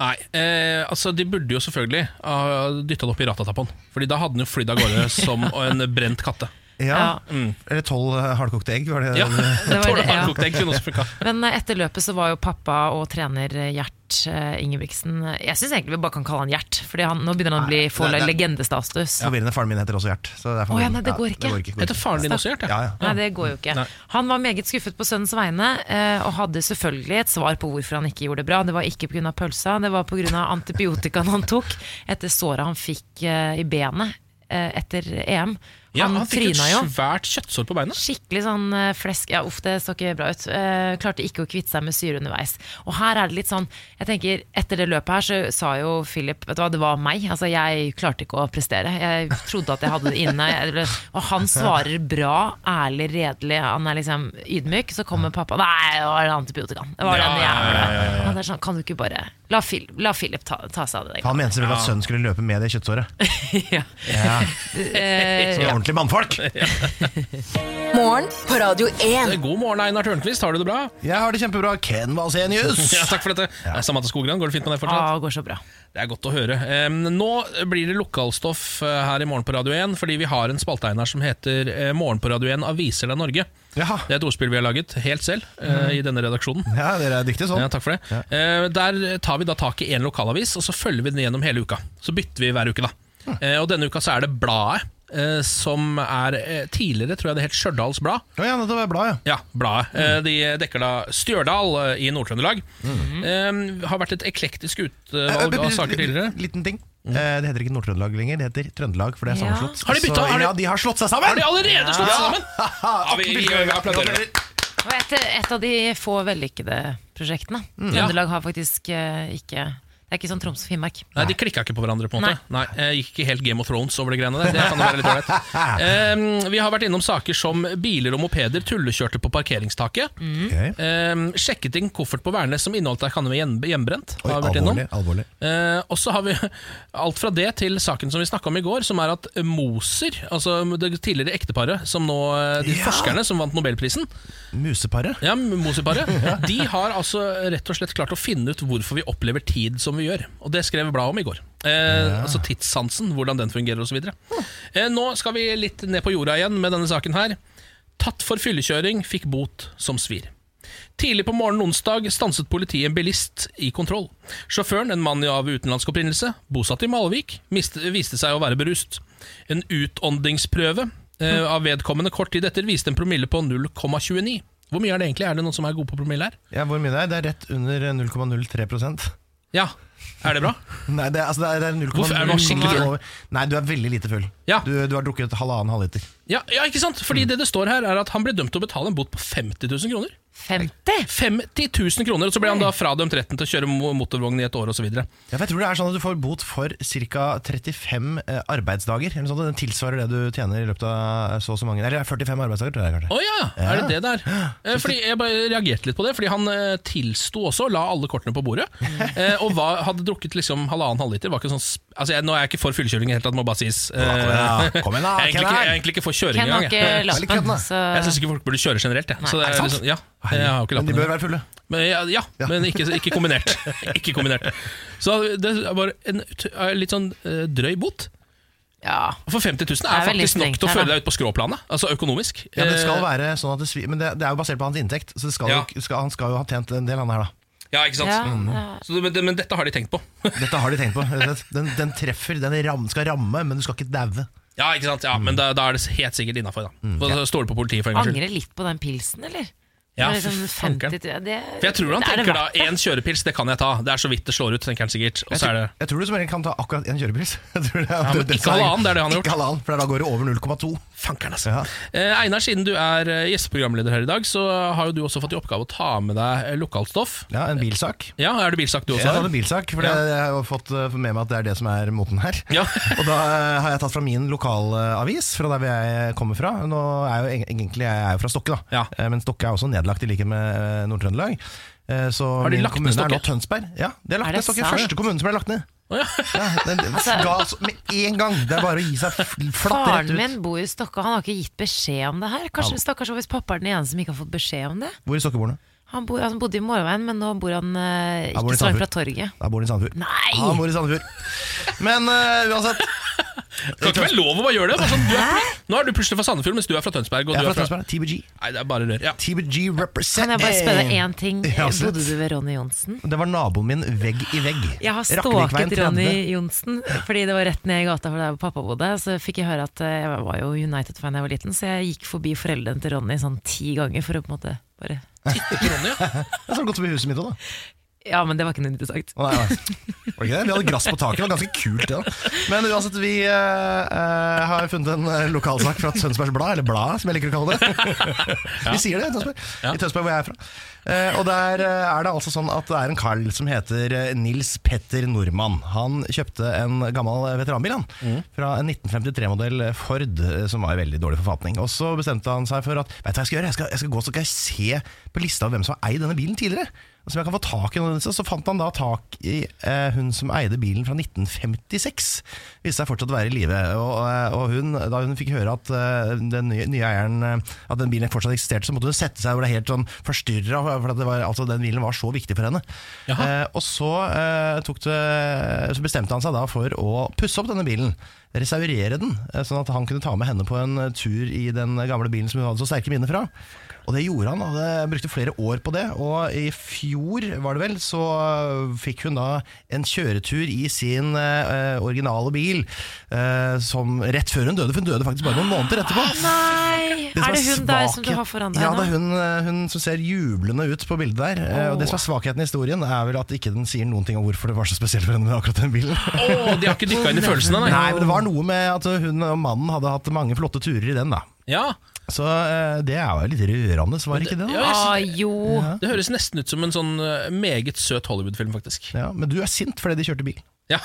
B: Nei, eh, altså De burde jo selvfølgelig ha dytta det opp i ratatappen. Fordi da hadde den jo flydd av gårde som en brent katte.
A: Ja.
C: Ja.
A: Eller tolv eh, hardkokte egg, var det
B: Mm. Ja,
C: det,
B: Tåler
C: ja.
B: hardkokt egg kunne også funka.
C: Men eh, etter løpet så var jo pappa og trener eh, Gjert eh, Ingebrigtsen eh, Jeg syns egentlig vi bare kan kalle han Gjert, for nå begynner han å bli få
A: det- det-
C: legendestatus.
A: Forvirrende. Faren min heter også Gjert. Så det er
C: Å ja,
A: forvirrende.
C: nei, det går ikke.
B: Heter faren din også Gjert?
A: Ja, ja.
C: Nei, det går jo ikke.
B: Nei.
C: Han var meget skuffet på sønnens vegne, eh, og hadde selvfølgelig et svar på hvorfor han ikke gjorde det bra. Det var ikke pga. pølsa, det var pga. antibiotikaen han tok etter såret han fikk eh, i benet eh, etter EM.
B: Ja,
C: han
B: han fikk
C: tryna jo.
B: et svært kjøttsår på beinet.
C: Skikkelig sånn eh, flesk Ja, uff, det så ikke bra ut. Eh, klarte ikke å kvitte seg med syre underveis. Og her er det litt sånn Jeg tenker, Etter det løpet her så sa jo Philip Vet du hva, det var meg. Altså, jeg klarte ikke å prestere. Jeg trodde at jeg hadde det inne. Jeg- eller- Og han svarer bra, ærlig, redelig. Han er liksom ydmyk. Så kommer pappa Nei, det var antibiotikaen. Det var den jævla Han er sånn, Kan du ikke bare La, Phil, la Philip ta, ta seg av det.
A: Han mente selvfølgelig at sønnen skulle løpe med det kjøttsåret.
C: Ja.
A: Ja.
C: Eh,
A: Så
C: ja.
A: ordentlig ordentlige mannfolk!
D: Morgen på Radio 1.
B: God morgen, Einar Tørnquist. Har du det bra?
A: Jeg har det kjempebra. Ken Vasenius!
B: Ja, takk for dette. Ja. Samantha Skogran, går det fint med deg fortsatt?
C: Ah, går så bra.
B: Det er godt å høre. Eh, Nå blir det lokalstoff eh, her i Morgen på Radio 1, fordi vi har en spalte Einar, som heter eh, Morgen på Radio 1 aviser deg Norge.
A: Jaha.
B: Det er et ordspill vi har laget helt selv eh, i denne redaksjonen.
A: Ja, dere er dyktige sånn.
B: Ja, takk for det. Eh, Der tar vi da tak i én lokalavis, og så følger vi den gjennom hele uka. Så bytter vi hver uke, da. Eh, Og denne uka så er det Bladet, eh, som er eh, tidligere, tror jeg det het Stjørdals Blad.
A: Å ja, dette var bladet, ja.
B: Ja, bladet. Eh, De dekker da Stjørdal eh, i Nord-Trøndelag. Eh, har vært et eklektisk
A: Eh,
B: utvalg av saker tidligere. Mm.
A: Liten ting. Eh, Det heter ikke Nord-Trøndelag lenger, det heter Trøndelag, for det er
C: Ja.
A: sammenslått.
B: Har de bytta?
A: Så,
B: Har de-
A: ja, de har slått seg sammen!
B: Har de allerede slått seg sammen? Ja, vi, vi, vi applauderer.
A: Gratulerer.
C: Og et, et av de få vellykkede prosjektene.
B: Mm.
C: Trøndelag har faktisk eh, ikke Det er ikke sånn Troms og Finnmark.
B: Nei, De klikka ikke på hverandre. på en måte Nei, eh, Gikk ikke helt Game of Thrones over de greiene der. Det kan jo være litt ålreit. Eh, vi har vært innom saker som biler og mopeder tullekjørte på parkeringstaket.
A: Ok.
B: Eh, sjekket inn koffert på Værnes som inneholdt erkanne med hjem- hjemmebrent.
A: Oi,
B: har vi vært innom.
A: alvorlig, alvorlig.
B: Eh, og så har vi alt fra det til saken som vi snakka om i går, som er at Moser, altså det tidligere ekteparet, som nå, eh, de forskerne som vant Nobelprisen,
A: Museparet.
B: ja, Moser-paret, de har altså rett og slett klart å finne ut hvorfor vi opplever tid som vi gjør. Og det skrev bladet om i går. Eh, Altså tidssansen, hvordan den fungerer osv. Eh, nå skal vi litt ned på jorda igjen med denne saken her. Tatt for fyllekjøring, fikk bot som svir. Tidlig på morgenen onsdag stanset politiet en bilist i kontroll. Sjåføren, en mann av utenlandsk opprinnelse, bosatt i Malvik, mist- viste seg å være berust. En utåndingsprøve eh, av vedkommende kort tid etter viste en promille på 0,29. Hvor mye er det egentlig? Er det noen som er god på promille her?
A: Ja, hvor mye det er? Det er rett under eh, 0,03
B: Ja, er det bra?
A: Nei, det er, altså, det er, det er 0,0
B: Hvorfor er man skikkelig full?
A: over- Nei, du er veldig lite full.
B: Ja.
A: Du, du har drukket halvannen halvliter.
B: Ja, ja ikke sant? Fordi det det står her er at han ble dømt til å betale en bot på 50 000 kroner.
C: 50!
B: 50 000 kroner, og så ble han da fradømt retten til å kjøre mo- motorvogn i et år osv.
A: Ja, for jeg tror det er sånn at du får bot for ca. 35 eh, arbeidsdager. Eller noe sånt. Den tilsvarer det du tjener i løpet av eh, så og så mange Eller 45 arbeidsdager, tror jeg kanskje.
B: Å ja, er det det der? Eh, Fordi Jeg bare reagerte litt på det, fordi han eh, tilsto også, la alle kortene på bordet. eh, Og var, hadde drukket liksom halvannen halvliter. Var ikke sånn, sp- altså jeg, nå er jeg ikke for fyllekjøring i det hele tatt, må bare sies. Eh,
A: kom igjen da, kom igjen da,
B: jeg,
A: Ken
B: er egentlig ikke,
A: her.
B: jeg er egentlig ikke for kjøring
C: Ken har
B: engang.
C: ikke
B: jeg.
C: lappen, så
B: Jeg syns ikke folk burde kjøre generelt. Jeg. Så det er
A: sant?
B: liksom, ja, jeg har ikke
A: Men de
B: lappen.
A: bør være fulle.
B: Men, ja, ja, men ikke, ikke kombinert. ikke kombinert. Så det var en ut- eh, litt sånn eh, drøy bot.
C: ja.
B: For 50 000
C: Det
B: er,
C: er vel litt
B: faktisk nok
C: strengt
B: til å
C: her,
B: føle
C: da.
B: deg ut på skråplanet, altså økonomisk.
A: Ja, men det skal
B: Eh,
A: være sånn at det svi... Men det, det er jo basert på hans inntekt, så det skal
B: Ja.
A: jo, skal, han skal jo ha tjent en del, han her, da.
B: ja, ikke sant?
C: ja, ja.
B: Så, det- men, men dette har de tenkt på.
A: Dette har de tenkt på. rett og slett. Den, den treffer, den ram, skal ramme, men du skal ikke daue.
B: Ja, ikke sant? Ja, Men da, da er det helt sikkert innafor. Ja. Stole på politiet for en gangs skyld.
C: Angrer litt på den pilsen, eller?
B: Ja,
C: Det er liksom
B: for fankeren.
C: 50 000, det,
B: For jeg tror han
C: er det
B: tenker da
C: verdt det?
B: én kjørepils, det kan jeg ta. Det er så vidt det slår ut, tenker han sikkert. Og så er det
A: Jeg tror du som regel kan ta akkurat én kjørepils. Jeg tror det er-
B: Ja, men
A: det- det-
B: ikke halvannen, det er det han har
A: Ikke halvannen, for da går det over 0,2.
B: Fankeren, altså. Eh, Einar, siden du er eh, gjesteprogramleder her i dag, så har jo du også fått i oppgave å ta med deg eh, lokalstoff.
A: Ja, en bilsak.
B: Ja, er det bilsak du
A: Jeg
B: også
A: hadde
B: har?
A: bilsak, for det-
B: Ja.
A: jeg har jo fått eh, med meg at det er det som er moten her.
B: Ja.
A: Og da eh, har jeg tatt fra min lokalavis, fra der hvor jeg kommer fra. Nå er jo eng- egentlig jeg er jo fra Stokke, da.
B: Ja.
A: Eh, Men Stokke er også nedlagt, i likhet med eh, Nord-Trøndelag. Eh, Så
B: Har de
A: min
B: lagt ned
A: kommune er
B: Stokke?
A: nå Tønsberg. Ja, de har
C: Er
A: lagt
C: det
A: ned Stokke.
C: sant? Altså-
A: Første kommunen som ble lagt ned.
B: Å, ja.
A: Ja, den den ga så- med en gang! Det er bare å gi seg f- flatt rett
C: Faren
A: ut.
C: min bor i Stokka, han har ikke gitt beskjed om det her. Kanskje stakkars hvis pappa er den ene som ikke har fått beskjed om det.
A: Hvor i Stokke bor han?
C: Han, bor, han bodde i Morveien, men nå bor han eh,
A: bor i
C: ikke så
A: Sandefjord.
C: langt fra torget.
A: Da bor han i Sandefjord.
C: Nei!
A: Han bor i Sandefjord. Men eh, uansett.
B: Kan ikke være lov å bare gjøre det? Bare sånn, du er, pl- nå er du plutselig fra Sandefjord, mens du er fra Tønsberg. Og
A: Jeg er
B: du er
A: fra
B: fra
A: Tønsberg. TBG.
B: Nei, det er bare rør. Ja.
A: TBG represent.
C: Kan jeg bare spørre deg én ting?
A: Ja, absolutt.
C: Bodde du ved Ronny Johnsen?
A: Det var naboen min vegg i vegg.
C: Jeg har
A: Rakkevikveien
C: stalket
A: 30.
C: Ronny Johnsen, fordi det var rett ned i gata for der hvor pappa bodde. Så fikk jeg høre at eh, jeg var jo United-fan da jeg var liten, så jeg gikk forbi foreldrene til Ronny sånn ti ganger for å på en måte bare
B: Ronny, ja.
A: Det er så godt som i huset mitt òg, da.
C: Ja, men det var ikke noe interessant.
A: Å, nei, nei. Var det ikke det? Vi hadde grass på taket, det var ganske kult. det da. Men uansett, vi eh, eh, har funnet en eh, lokalsak fra Tønsbergs Blad, eller Bladet, som jeg liker å kalle det. Vi sier det i Tønsberg, i Tønsberg hvor jeg er fra. Eh, og der eh, er det altså sånn at det er en kall som heter eh, Nils Petter Nordmann. Han kjøpte en gammel veteranbil, han. Fra en 1953-modell Ford, eh, som var i veldig dårlig forfatning. Og så bestemte han seg for at Vet du hva jeg skal gjøre? Jeg skal, jeg skal gå så skal jeg se på lista over hvem som har eid denne bilen tidligere. som jeg kan få tak i noen av disse. Så fant han da tak i eh, hun som eide bilen fra 1956. Viste seg fortsatt å være i live. Og, eh, og hun, da hun fikk høre at eh, den nye, nye eieren eh, At den bilen fortsatt eksisterte, så måtte hun sette seg og ble helt sånn forstyrra, for at det var, altså, den bilen var så viktig for henne. Eh, og så, eh, tok det, så bestemte han seg da for å pusse opp denne bilen. Restaurere den, eh, sånn at han kunne ta med henne på en eh, tur i den gamle bilen som hun hadde så sterke minner fra. Og det gjorde han, og det brukte flere år på det. Og i fjor, var det vel, så fikk hun da en kjøretur i sin eh, originale bil eh, som rett før hun døde, for hun døde faktisk bare noen måneder etterpå.
C: Ah, Nei!
A: som
C: Er det hun der som du
A: svakheten-
C: har foran deg
A: Ja,
C: nå?
A: det er hun, eh, hun som ser jublende ut på bildet der. Eh, Og det som er svakheten i historien, er vel at ikke den sier noen ting om hvorfor det var så spesielt for henne med akkurat den bilen.
B: Å, de har ikke dykka inn i følelsene, nei.
A: Nei, men det var noe med at hun og mannen hadde hatt mange flotte turer i den, da.
B: Ja,
A: Så eh, det er jo litt rørende, så var det ikke det? da?
B: ja jeg
C: Ah,
B: sy-
C: jo.
B: det høres nesten ut som en sånn eh, meget søt Hollywood-film, faktisk.
A: Ja, men du er sint fordi de kjørte bil.
B: Ja.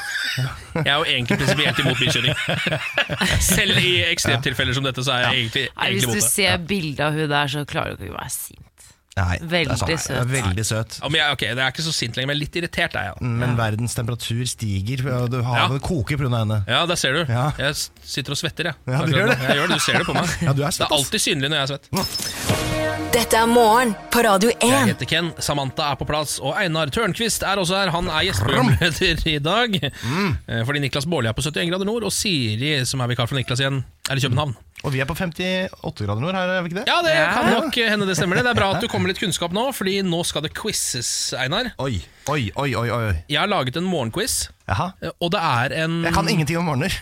B: Jeg er jo egentlig prinsipielt imot bilkjøring. Selv i ekstremtilfeller som dette, så er jeg egentlig,
C: Nei,
B: egentlig
C: hvis du
B: imot det.
C: ser bildet av hun der, så klarer du ikke å være sint.
A: Nei,
C: Veldig
A: det er sant.
C: søt.
A: Det er veldig søt.
B: Ja, men jeg, ok, det er ikke så sint lenger, men litt irritert er jeg. da.
A: Men verdens temperatur stiger, og du har
B: Ja.
A: det koker pga. henne.
B: Ja, der ser du.
A: Ja.
B: Jeg s- sitter og svetter, jeg.
A: Ja, du
B: Akkurat
A: gjør
B: nå.
A: det.
B: Jeg gjør det, Du ser det på meg.
A: Ja, du er
B: Det
A: svett,
B: er alltid synlig når jeg er svett.
D: Dette er morgen på Radio
B: Jeg
D: 1.
B: heter Ken, Samantha er på plass, og Einar Tørnquist er også her. Han er gjesteprogramleder i dag.
A: Mm.
B: Eh, Fordi Niklas Baarli er på 71 grader nord, og Siri, som er vikar for Niklas igjen, er i København.
A: Og vi er på 58 grader nord her, er vi ikke det?
B: Ja, det kan nok hende det stemmer. Det Det er bra at du kommer med litt kunnskap nå, Fordi nå skal det quizzes, Einar.
A: Oi, oi, oi, oi, oi.
B: Jeg har laget en morgenquiz,
A: Jaha.
B: eh, og det er en
A: Jeg kan ingenting om morgener.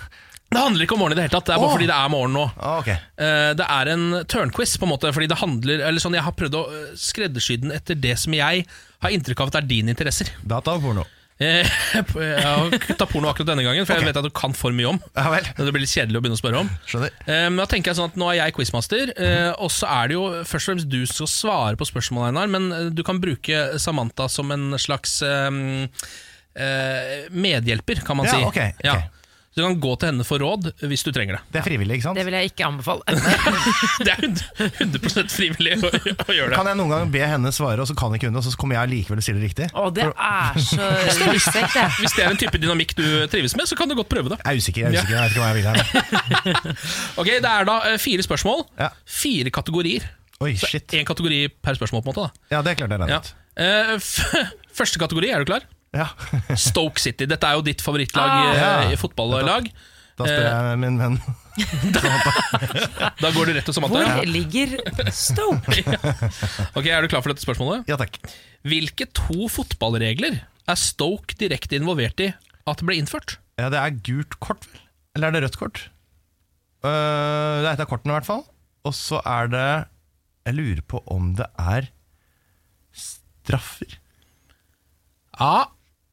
B: Det handler ikke om morgen i det hele tatt, det er bare
A: Åh.
B: fordi det er morgen nå.
A: Ah, ok.
B: Eh, Det er en tørnquiz, på en måte, fordi det handler Eller sånn, jeg har prøvd å eh, skreddersy den etter det som jeg har inntrykk av at er dine interesser.
A: Data og porno.
B: Eh, Jeg har kutta porno akkurat denne gangen, for jeg vet at du kan for mye om.
A: Ja vel.
B: Det blir litt kjedelig å begynne å spørre om.
A: Skjønner.
B: Eh, Men da tenker jeg sånn at Nå er jeg quizmaster, eh, og så er det jo først og fremst du som skal svare på spørsmålet, Einar. Men eh, du kan bruke Samantha som en slags eh, eh, medhjelper, kan man
A: Ja,
B: si.
A: ok, ok.
B: Ja. Så Du kan gå til henne for råd hvis du trenger det.
A: Det er frivillig, ikke sant?
C: Det vil jeg ikke anbefale.
B: Det er 100 frivillig å, å gjøre det.
A: Kan jeg noen gang be henne svare, og så kan ikke hun det, og så kommer jeg likevel og sier det riktig?
C: Å, det er så respekt, det.
B: Hvis det er en type dynamikk du trives med, så kan du godt prøve det.
A: Jeg er usikker, jeg er usikker, jeg vet ikke hva jeg vil her.
B: Ok, Det er da eh, fire spørsmål.
A: Ja.
B: Fire kategorier.
A: Oi, shit.
B: Én kategori per spørsmål, på en måte. da
A: Ja, det klarte jeg
B: ja.
A: regnet.
B: Eh, f Første kategori, er du klar?
A: Ja.
B: Stoke City. Dette er jo ditt favorittlag
C: Ah.
B: eh,
A: Ja.
B: i fotballag.
A: Da spør jeg min venn.
B: Da går du rett til Samantha.
C: Hvor ligger Stoke?
B: Ok, Er du klar for dette spørsmålet?
A: Ja, takk.
B: Hvilke to fotballregler er Stoke direkte involvert i at ble innført?
A: Ja, det er gult kort, vel? Eller er det rødt kort? Øh, det er et av kortene, i hvert fall. Og så er det Jeg lurer på om det er straffer.
B: Ja,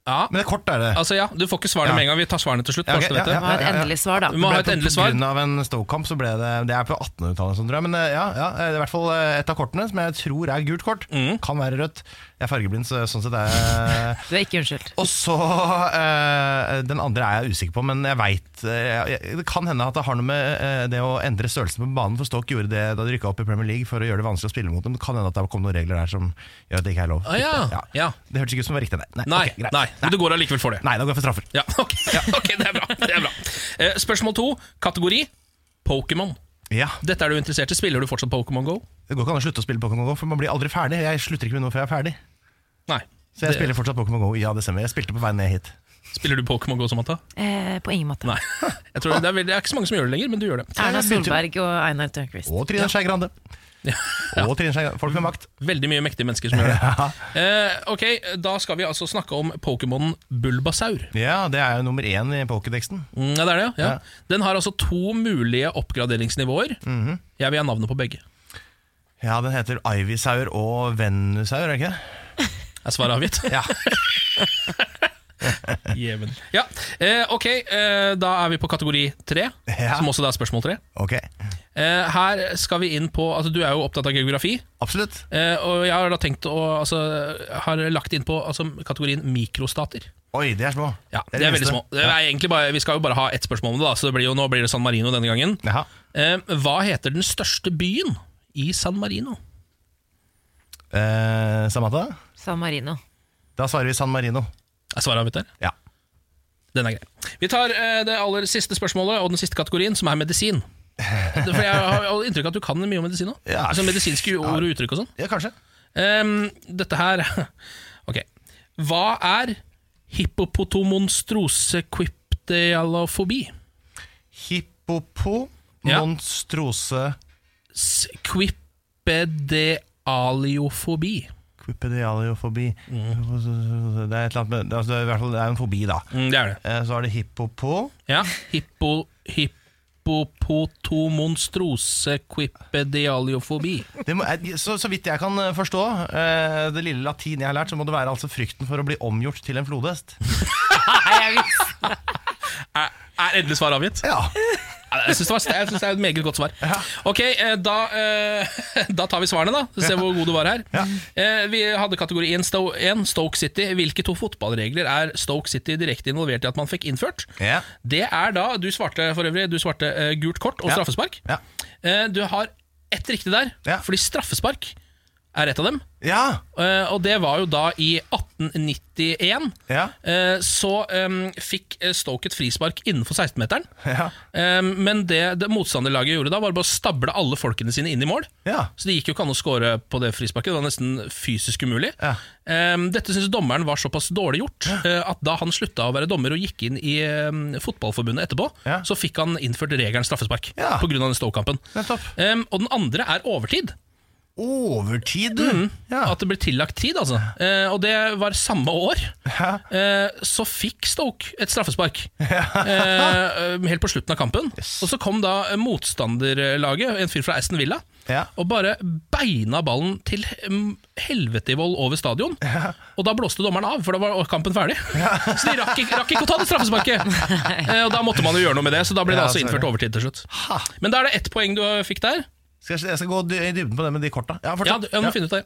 B: ja.
A: Men det er kort, er det.
B: Altså ja, Du får ikke svarene
A: Ja.
B: med en gang. Vi tar svarene til slutt.
A: Ja,
B: bare
A: ok,
B: så du vet det.
A: ja,
C: Må ha et endelig svar, da.
B: Du må ha et
A: På-
B: endelig
A: På
B: svar.
A: grunn av en Stoke-kamp så ble det Det er på 1800-tallet, sånn, tror jeg. Men eh, ja, ja, det er i hvert fall eh, et av kortene som jeg tror er gult kort.
B: Mm.
A: Kan være rødt. Jeg er fargeblind, så sånn sett er jeg
C: Du er ikke unnskyldt.
A: Og så eh, Den andre er jeg usikker på, men jeg veit Det kan hende at det har noe med eh, det å endre størrelsen på banen, for Stoke gjorde det da de rykka opp i Premier League for å gjøre det vanskelig å spille mot dem. Det kan hende at det kom noen regler der som gjør at det ikke er lov.
B: Ah, ja. Ja.
A: Det hørtes ikke ut som det var riktig, nei. Nei,
B: Nei,
A: ok, greit.
B: nei, men du går allikevel for det.
A: nei, da går jeg for straffer.
B: Ja, ok, ok, det er bra. Det er bra. Eh, spørsmål to, kategori Pokémon.
A: Ja,
B: Dette er du interessert i. Spiller du fortsatt Pokémon Go?
A: Det går ikke an å slutte å spille Pokémon GO, for man blir aldri ferdig. Jeg slutter ikke med noe før jeg er ferdig.
B: Nei.
A: Så jeg
B: Det-
A: spiller fortsatt Pokémon GO. Ja, det stemmer. Jeg spilte på vei ned hit.
B: Spiller du Pokémon Go, Samantha?
C: Eh, på ingen måte.
B: Nei. Jeg tror det, er, veldig- det er ikke så mange som gjør det lenger, men du gjør det.
C: Erna Solberg og Einar Tørnquist.
A: Og Trine Skei Grande. Og Trine Skei Grande. Folk med makt.
B: Veldig mye mektige mennesker som gjør det. Eh, ok, Da skal vi altså snakke om Pokémonen Bulbasaur.
A: Ja, det er jo nummer én i pokédexen.
B: Mm, ja, det er det, ja. ja. Den har altså to mulige oppgraderingsnivåer.
A: Mhm.
B: Jeg vil ha navnet på begge.
A: Ja, den heter Ivysaur og Venusaur, er det ikke det?
B: Er svaret avgitt?
A: Ja.
B: Jeven. Ja, eh, ok, eh, da er vi på kategori tre,
A: Ja.
B: som også da er spørsmål tre.
A: Ok,
B: Eh, her skal vi inn på altså Du er jo opptatt av geografi.
A: absolutt.
B: Eh, og jeg har da tenkt å altså, Har lagt inn på altså, kategorien mikrostater.
A: Oi, de er små.
B: Ja, det er veldig små det er egentlig bare, Vi skal jo bare ha ett spørsmål om det, da, så det blir jo, nå blir det San Marino denne gangen. Ehm,
A: Jaha.
B: Eh, hva heter den største byen i San Marino?
A: Eh, Samantha?
C: San Marino.
A: Da svarer vi San Marino.
B: Er svaret mitt der?
A: Ja.
B: Den er grei. Vi tar eh, det aller siste spørsmålet og den siste kategorien, som er medisin. Det- For jeg har inntrykk av at du kan mye om medisin òg.
A: Ja.
B: Altså medisinske ord og uttrykk og sånn.
A: Ja, kanskje.
B: Ehm, dette her Ok. Hva er hippopotomonstrosecryptialofobi?
A: Hippopo
B: Ja.
A: monstrose
B: Squipedealiofobi.
A: quipedialiofobi. Det er et eller annet med altså, Det er i hvert fall det er en fobi, da.
B: Mm, det er det.
A: Eh, Så er det hippopo.
B: Ja. Hippo, hippopotomonstrosecrypedialiofobi.
A: Det må, eh, så, så vidt jeg kan eh, forstå, eh, det lille latin jeg har lært, så må det være altså frykten for å bli omgjort til en flodhest.
C: Nei, jeg visste
B: Er, er endelig svar avgitt?
A: Ja.
B: Ja, Jeg syns det, var st- jeg synes det er et meget godt svar. Ok, eh, da, eh, da tar vi svarene, da. Så Se hvor god du var her. Eh, Vi hadde kategori 1, Stoke City. Hvilke to fotballregler er Stoke City direkte involvert i at man fikk innført?
A: Ja.
B: Det er da Du svarte for øvrig Du svarte eh, gult kort og
A: Ja.
B: straffespark.
A: Ja.
B: Eh, Du har ett riktig der,
A: Ja.
B: fordi straffespark er et av dem.
A: Ja.
B: Eh, Og det var jo da i 1891.
A: Ja.
B: Eh, Så eh, fikk eh, Stoke et frispark innenfor 16-meteren.
A: Ja.
B: Eh, Men det, det motstanderlaget gjorde da, var bare å stable alle folkene sine inn i mål.
A: Ja.
B: Så det gikk jo ikke an å score på det frisparket. Det var nesten fysisk umulig.
A: Ja.
B: Eh, Dette syntes dommeren var såpass dårlig gjort eh, at da han slutta å være dommer og gikk inn i eh, Fotballforbundet etterpå,
A: Ja.
B: så fikk han innført regelen straffespark
A: Ja.
B: pga. den Stoke-kampen.
A: Nettopp.
B: Eh, Og den andre er overtid.
A: Overtid, du! Ja.
B: Mm. At det ble tillagt tid, altså. Eh, og det var samme år. Eh, så fikk Stoke et straffespark. Eh, helt på slutten av kampen. Og så kom da motstanderlaget, en fyr fra Aston Villa,
A: Ja.
B: og bare beina ballen til mm, helvete i vold over stadion. Og da blåste dommeren av, for da var kampen ferdig. Så de rakk, ikke- rakk ikke å ta det straffesparket! Eh, og da måtte man jo gjøre noe med det, så da ble det
A: Ja,
B: altså
A: sorry.
B: innført overtid til slutt. Men da er det ett poeng du fikk der.
A: Skal jeg, jeg skal gå dy- i dybden på det med de korta. Ja,
B: Ja,
A: fortsatt.
B: du, ja, du må finne ut det.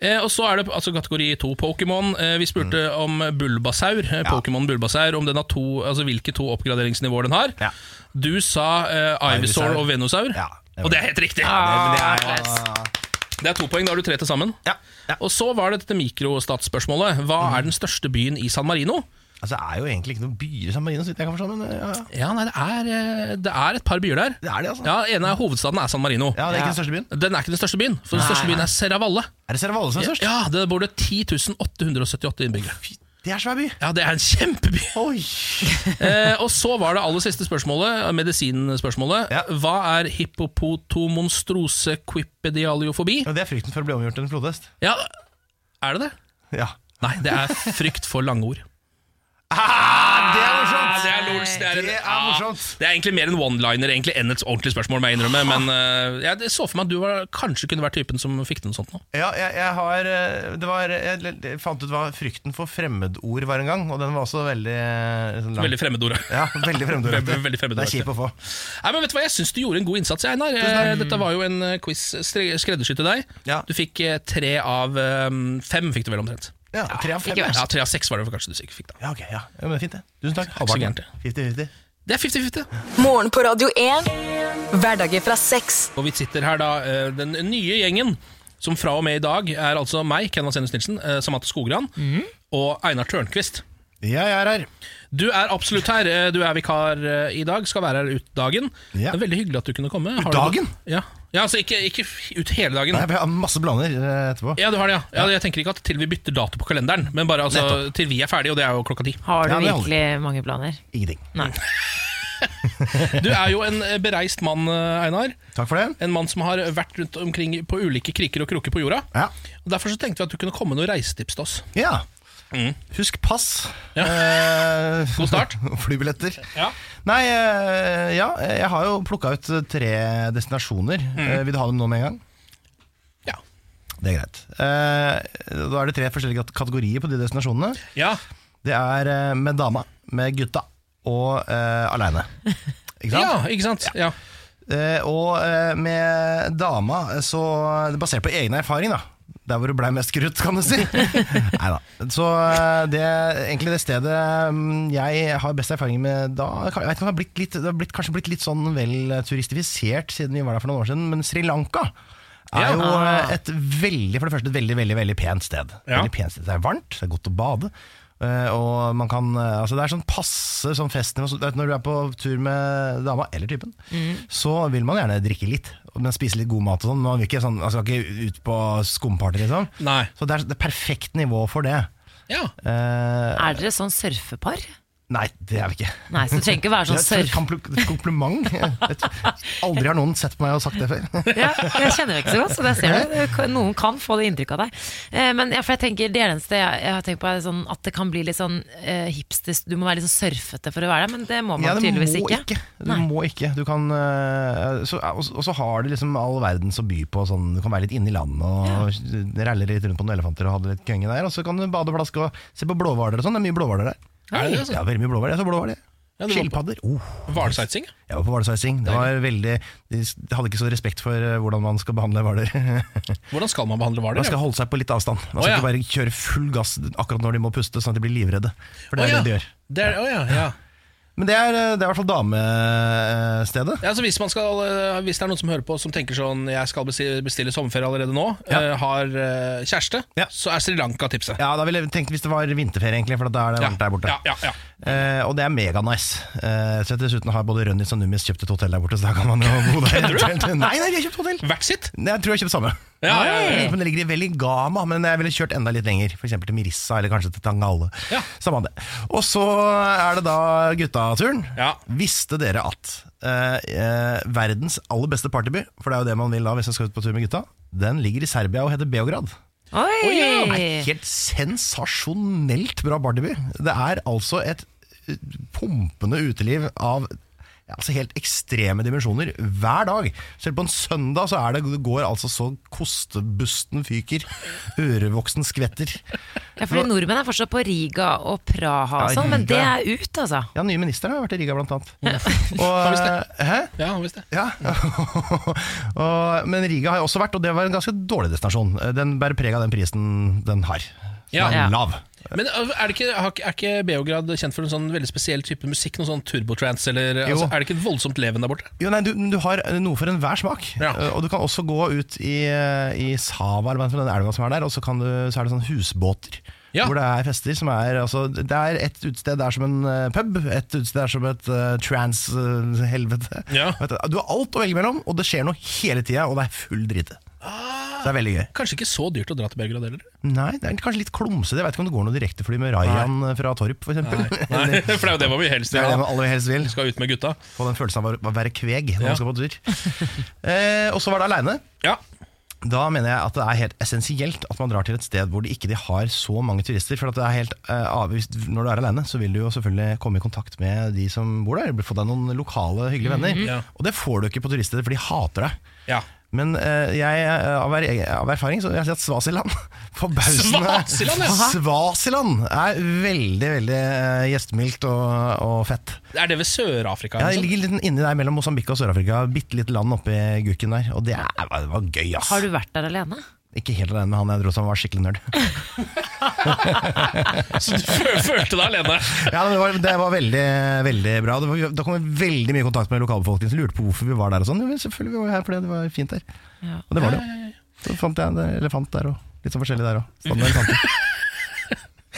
B: Eh, og så er det altså, kategori to Pokémon. Eh, vi spurte om Bulbasaur, eh, Pokémon Bulbasaur, om den har to, altså, hvilke to oppgraderingsnivåer den har.
A: Ja.
B: Du sa eh, Ivysaur
A: Ivysaur.
B: og Venusaur,
A: Ja, det var
B: og det er helt riktig.
A: Men det er,
B: Det er to poeng, da har du tre til sammen.
A: ja. Ja.
B: Og så var det dette mikrostatsspørsmålet. Hva er den største byen i San Marino?
A: Altså, det er jo egentlig ikke noen byer i San Marino, så vidt jeg kan forstå. Men eh, ja, ja.
B: Ja, nei, det er, eh, det er et par byer der.
A: det er det, altså.
B: Ja, ene er hovedstaden er San Marino.
A: Ja, det er ikke den største byen.
B: Den er ikke den største byen, for den største byen er Serravalle.
A: Er det Serravalle som er størst?
B: Ja, det bor det 10.878 innbyggere.
A: Det er svær by!
B: Ja, det er en kjempeby!
A: Oi!
B: Eh, og så var det aller siste spørsmålet, eh, medisinspørsmålet.
A: Ja.
B: Hva er hippopotomonstrosecrypedialiofobi?
A: Ja, det er frykten for å bli omgjort til en flodhest.
B: Ja, er det det?
A: Ja.
B: Nei, det er frykt for lange ord.
A: Det er morsomt!
B: Ah, Det er lols, det er, en-
A: Det er
B: Ah,
A: morsomt.
B: det er egentlig mer en one-liner egentlig, enn et ordentlig spørsmål, må jeg innrømme. Men eh, jeg så for meg at du var, kanskje kunne vært typen som fikk til noe sånt nå.
A: Ja, jeg, jeg har eh, Det var Jeg l- l- fant ut hva frykten for fremmedord var en gang, og den var også veldig eh, sånn lang.
B: Veldig fremmedord.
A: Ja, veldig fremmedordaktig.
B: Veldig- veldig
A: Det er
B: fremmedordaktig.
A: kjip å få.
B: Nei, men vet du hva, Jeg syns du gjorde en god innsats, Einar. Eh, Dette var jo en eh, quiz stre- skreddersydd til deg.
A: Ja.
B: Du fikk eh, tre av eh, fem, fikk du vel omtrent.
A: Ja, tre av fem.
B: Ja, tre av seks var det kanskje du sikkert fikk. da
A: Ja, ok, ja. ja men Fint, det. Tusen takk.
B: så gærent, det.
A: 50-50.
B: Det er 50-50.
D: Morgen på Radio 1. Hverdager fra seks.
B: Og vi sitter her da, eh, den nye gjengen, som fra og med i dag er altså meg, Ken Vasenius Nilsen, eh, Samantha Skogran
A: Mhm.
B: og Einar Tørnquist.
A: Ja, jeg er her.
B: Du er absolutt her. eh, Du er vikar eh, i dag, skal være her ut dagen.
A: Ja.
B: Det er Veldig hyggelig at du kunne komme. Har
A: Ut
B: du-
A: dagen?
B: Ja, ja altså ikke, ikke f- ut hele dagen.
A: Nei, jeg har masse planer eh, etterpå.
B: Ja, du har det, ja. ja. Jeg tenker ikke at til vi bytter dato på kalenderen, men bare altså, til vi er ferdige, og det er jo klokka ti.
C: Har du
A: Ja, det holder.
C: virkelig mange planer?
A: Ingenting.
B: Du er jo en eh, bereist mann, eh, Einar.
A: Takk for det.
B: En mann som har vært rundt omkring på ulike kriker og kroker på jorda.
A: Ja.
B: Og Derfor så tenkte vi at du kunne komme med noen reisetips til oss.
A: ja. Husk pass.
B: Ja.
A: Eh,
B: God start.
A: Flybilletter.
B: Ja.
A: Nei, eh, ja, jeg har jo plukka ut eh, tre destinasjoner. Eh, Vil du ha dem nå med en gang?
B: Ja.
A: Det er greit. Eh, Da er det tre forskjellige kat- kategorier på de destinasjonene.
B: Ja,
A: Det er eh, med dama, med gutta og eh, aleine. Ikke sant?
B: ja ikke sant? Ja.
A: Eh, og eh, med dama, eh, så det er Basert på egen erfaring, da. Der hvor du blei mest krutt, kan du si. Nei da. Så eh, det egentlig det stedet mm, jeg har best erfaring med da Jeg vet ikke om det har blitt litt, det har blitt, kanskje blitt litt sånn vel turistifisert siden vi var der for noen år siden, men Sri Lanka er
B: Ja.
A: jo eh, et veldig, for det første et veldig, veldig, veldig pent sted.
B: Ja.
A: Veldig pent sted. Det er varmt, det er godt å bade. eh, Og man kan, eh, altså det er sånn passe sånn festnivå så- det er Når du er på tur med dama eller typen, så vil man gjerne drikke litt. Men spise litt god mat og sånn. men Man vil ikke, sånn, altså, ikke ut på skumparty, liksom.
B: Nei.
A: Så det er det er perfekt nivå for det.
B: Ja.
A: Eh,
C: Er dere sånn surfepar?
A: nei, det er vi ikke.
C: Nei, så du trenger ikke være sånn
A: Det er et
C: surf...
A: kompl- et kompliment. Jeg tror- Aldri har noen sett på meg og sagt det før.
C: Ja, jeg kjenner deg ikke så godt, så det ser du. Noen kan få det inntrykk av deg. Eh, Men ja, for jeg tenker, det eneste jeg, jeg har tenkt på, er sånn at det kan bli litt sånn eh, hipster Du må være litt sånn surfete for å være der, men det må man
A: Ja, det må
C: tydeligvis
A: ikke.
C: ikke.
A: Du
C: Nei.
A: må ikke. Du kan, eh, så, og, og så har du liksom all verdens å by på. Sånn, du kan være litt inne i landet og ralle litt rundt på noen elefanter og ha det litt kønge der. Og så kan du bade og flaske og se på blåhvaler og sånn. Det er mye blåhvaler der.
B: Er det det, altså?
A: Ja, veldig mye blåhvaler. Jeg så blåhvaler.
B: Ja, du var på-
A: Skilpadder. Oh.
B: Hvalsightseeing.
A: Jeg var på hvalsizing. Det var veldig De s- hadde ikke så respekt for eh, hvordan man skal behandle hvaler.
B: Hvordan skal man behandle hvaler?
A: Man skal holde seg på litt avstand. Man skal
B: Å, ja.
A: ikke bare kjøre full gass akkurat når de må puste, sånn at de blir livredde. For det er
B: Å, ja.
A: det de gjør.
B: Det er, å ja, ja.
A: Men det er, eh, det er i hvert fall eh, damestedet.
B: Ja, altså hvis, man skal, eh, hvis det er noen som hører på som tenker sånn Jeg skal besti- bestille sommerferie allerede nå,
A: Ja.
B: eh, har eh, kjæreste,
A: Ja.
B: så er Sri Lanka tipset.
A: Ja, da ville jeg tenkt hvis det var vinterferie, egentlig, for da er det varmt der borte.
B: ja, ja, ja.
A: Eh, og det er meganice. Eh, så dessuten har både Rønnis og Numis kjøpt et hotell der borte, så da kan man jo bo der. eventuelt. Nei, nei, vi har kjøpt hotell!
B: Hvert sitt.
A: Nei, Jeg tror jeg har kjøpt samme.
B: Ja, ja, ja,
A: Men Det ligger i Veligama, men jeg ville kjørt enda litt lenger. F.eks. til Mirissa, eller kanskje til Tangale.
B: Ja.
A: Samme det. Og så er det da guttaturen.
B: Ja.
A: Visste dere at eh, eh, verdens aller beste partyby, for det er jo det man vil da hvis man skal ut på tur med gutta, den ligger i Serbia og heter Beograd.
C: Oi!
A: Helt sensasjonelt bra partyby. Det er altså et eh, pumpende uteliv av ja, altså helt ekstreme dimensjoner hver dag. Selv på en søndag så er det, det går altså så kostebusten fyker. Ørevoksen skvetter.
C: Ja, fordi nordmenn er fortsatt på Riga og Praha og
A: Ja,
C: sånn, men det
A: Riga.
C: er ut, altså.
A: Ja, nye ministeren har vært i Riga, blant annet. Og,
B: visst
A: hæ?
B: Ja, visst det.
A: Ja. og, men Riga har jeg også vært, og det var en ganske dårlig destinasjon. Den bærer preg av den prisen den har.
B: Ja.
A: Den
C: Ja.
A: er lav.
B: Men eh, er, det ikke, har ikke- er ikke Beograd kjent for en sånn veldig spesiell type musikk? Noe sånn turbotrance, eller
A: Jo.
B: altså, Er det ikke voldsomt leven der borte?
A: Jo, nei, du, du har noe for enhver smak.
B: Ja.
A: Eh, Og du kan også gå ut i, eh, i Sava, eller hva heter den elva som er der, og så, kan du, så er det sånne husbåter.
B: Ja.
A: Hvor det er fester som er altså, Det er et utested der som en eh, pub, et utested der som et eh, trans-helvete.
B: Ja.
A: Du har alt å velge mellom, og det skjer noe hele tida, og det er full drite.
B: Ah.
A: Så det er veldig gøy.
B: Kanskje ikke så dyrt å dra til Beograd heller?
A: Nei, det er kanskje litt klumsete. Jeg vet ikke om det går noe direktefly med Rayan fra Torp, f.eks.
B: Nei, for det er jo det man vil helst
A: Det er det
B: vil.
A: man aller helst vil.
B: Skal ut med gutta.
A: Få den følelsen av å- å være kveg når
B: Ja.
A: man skal på tur. Eh, og så var det aleine.
B: Ja.
A: Da mener jeg at det er helt essensielt at man drar til et sted hvor de ikke de har så mange turister. For at det er helt eh, avvist. Når du er alene, så vil du jo selvfølgelig komme i kontakt med de som bor der. Få deg noen lokale, hyggelige venner.
B: Mhm. Ja.
A: Og det får du ikke på turiststeder, for de hater deg.
B: ja.
A: Men eh, jeg, eh, av, er, av erfaring så vil jeg si at Svasiland Forbausende
B: Svasiland, ja.
A: Svasiland er veldig, veldig eh, gjestmildt og, og fett.
B: Er det ved Sør-Afrika?
A: Ja, det
B: liksom. eller noe sånt?
A: ligger litt inni der mellom Mosambik og Sør-Afrika. Bitte lite land oppi gukken der. Og det, er, det var gøy, ass.
C: Har du vært der alene?
A: Ikke helt alene med han jeg dro som var skikkelig nerd.
B: Så du fø- følte deg alene?
A: Ja, men det, var, det var veldig veldig bra. Det var, da kom vi veldig mye i kontakt med lokalbefolkningen som lurte på hvorfor vi var der. og sånn. Jo, men selvfølgelig vi var her fordi det var fint der.
C: Ja.
A: Og det var det jo. Så fant jeg en elefant der og litt sånn forskjellig der òg.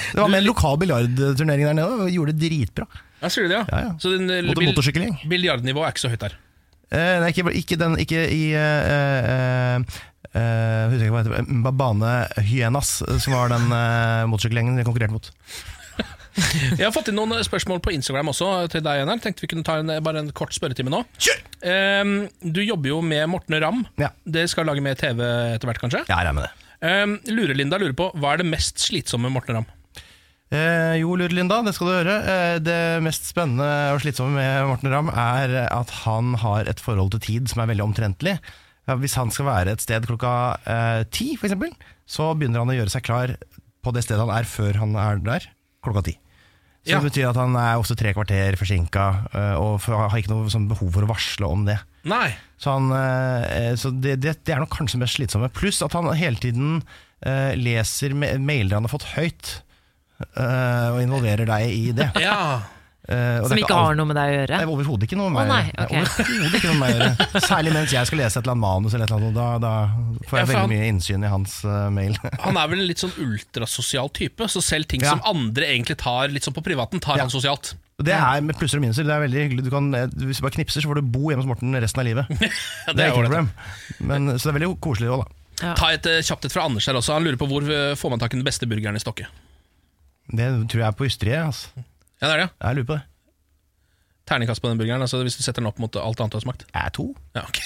A: Det var med en lokal biljardturnering der nede og gjorde det dritbra.
B: Ja, sier du det, ja?
A: Ja, ja.
B: Så den, eh,
A: Mot en
B: bil-
A: motorsykkelgjeng.
B: Biljardnivået er ikke så høyt der.
A: Eh, nei, ikke, ikke den Ikke i eh, eh, eh, husker jeg ikke hva det heter Mbabane Hyenas, som var den eh, motorsykkelgjengen vi konkurrerte mot.
B: Jeg har fått inn noen eh, spørsmål på Instagram også eh, til deg, Einar. Tenkte vi kunne ta en, eh, bare en kort spørretime nå.
A: Kjør!
B: Ehm, du jobber jo med Morten Ramm.
A: Ja.
B: Dere skal lage mer TV etter hvert, kanskje?
A: Ja, jeg regner med det.
B: Ehm, Lurelinda lurer på hva er det mest slitsomme med Morten Ramm?
A: Eh, jo, lurer Linda, det skal du høre. Eh, det mest spennende og slitsomme med Morten Ramm er at han har et forhold til tid som er veldig omtrentlig. Ja, Hvis han skal være et sted klokka eh, ti, for eksempel, så begynner han å gjøre seg klar på det stedet han er før han er der, klokka ti. Så
B: Ja.
A: det betyr at han er ofte tre kvarter forsinka, eh, og for- har ikke noe sånn behov for å varsle om det.
B: Nei.
A: Så, han, eh, så det, det, det er nok kanskje det mest slitsomme. Pluss at han hele tiden eh, leser me- mailer han har fått høyt, eh, og involverer deg i det.
B: Ja.
A: Eh, og det
C: Som
A: er
C: ikke
A: alt-
C: har noe med deg å gjøre?
A: Det er overhodet ikke noe med meg
C: Å,
A: å
C: nei,
A: gjøre. Det er
C: ok.
A: overhodet ikke noe med meg å gjøre. Særlig mens jeg skal lese et eller annet manus, eller et eller annet, og da, da får
B: Ja,
A: jeg
B: for han-
A: veldig mye innsyn i hans eh, mail.
B: Han er vel en litt sånn ultrasosial type, så selv ting
A: Ja.
B: som andre egentlig tar litt sånn på privaten, tar
A: Ja.
B: han sosialt.
A: Det er med plusser og minuser. Det er veldig hyggelig du kan, eh, Hvis du bare knipser, så får du bo hjemme hos Morten resten av livet. Det
B: Ja,
A: er ikke
B: ålreit.
A: noe problem. Men, så det er veldig koselig òg, da.
B: Ta et eh, kjapt et fra Anders her også. Han lurer på hvor eh, får man tak i den beste burgeren i Stokke.
A: Det tror jeg er på ysteriet. Altså.
B: Ja, det er det. ja.
A: Jeg lurer på det.
B: Terningkast på den burgeren, altså hvis du setter den opp mot alt annet du har smakt.
A: Jeg er to.
B: Ja, ok.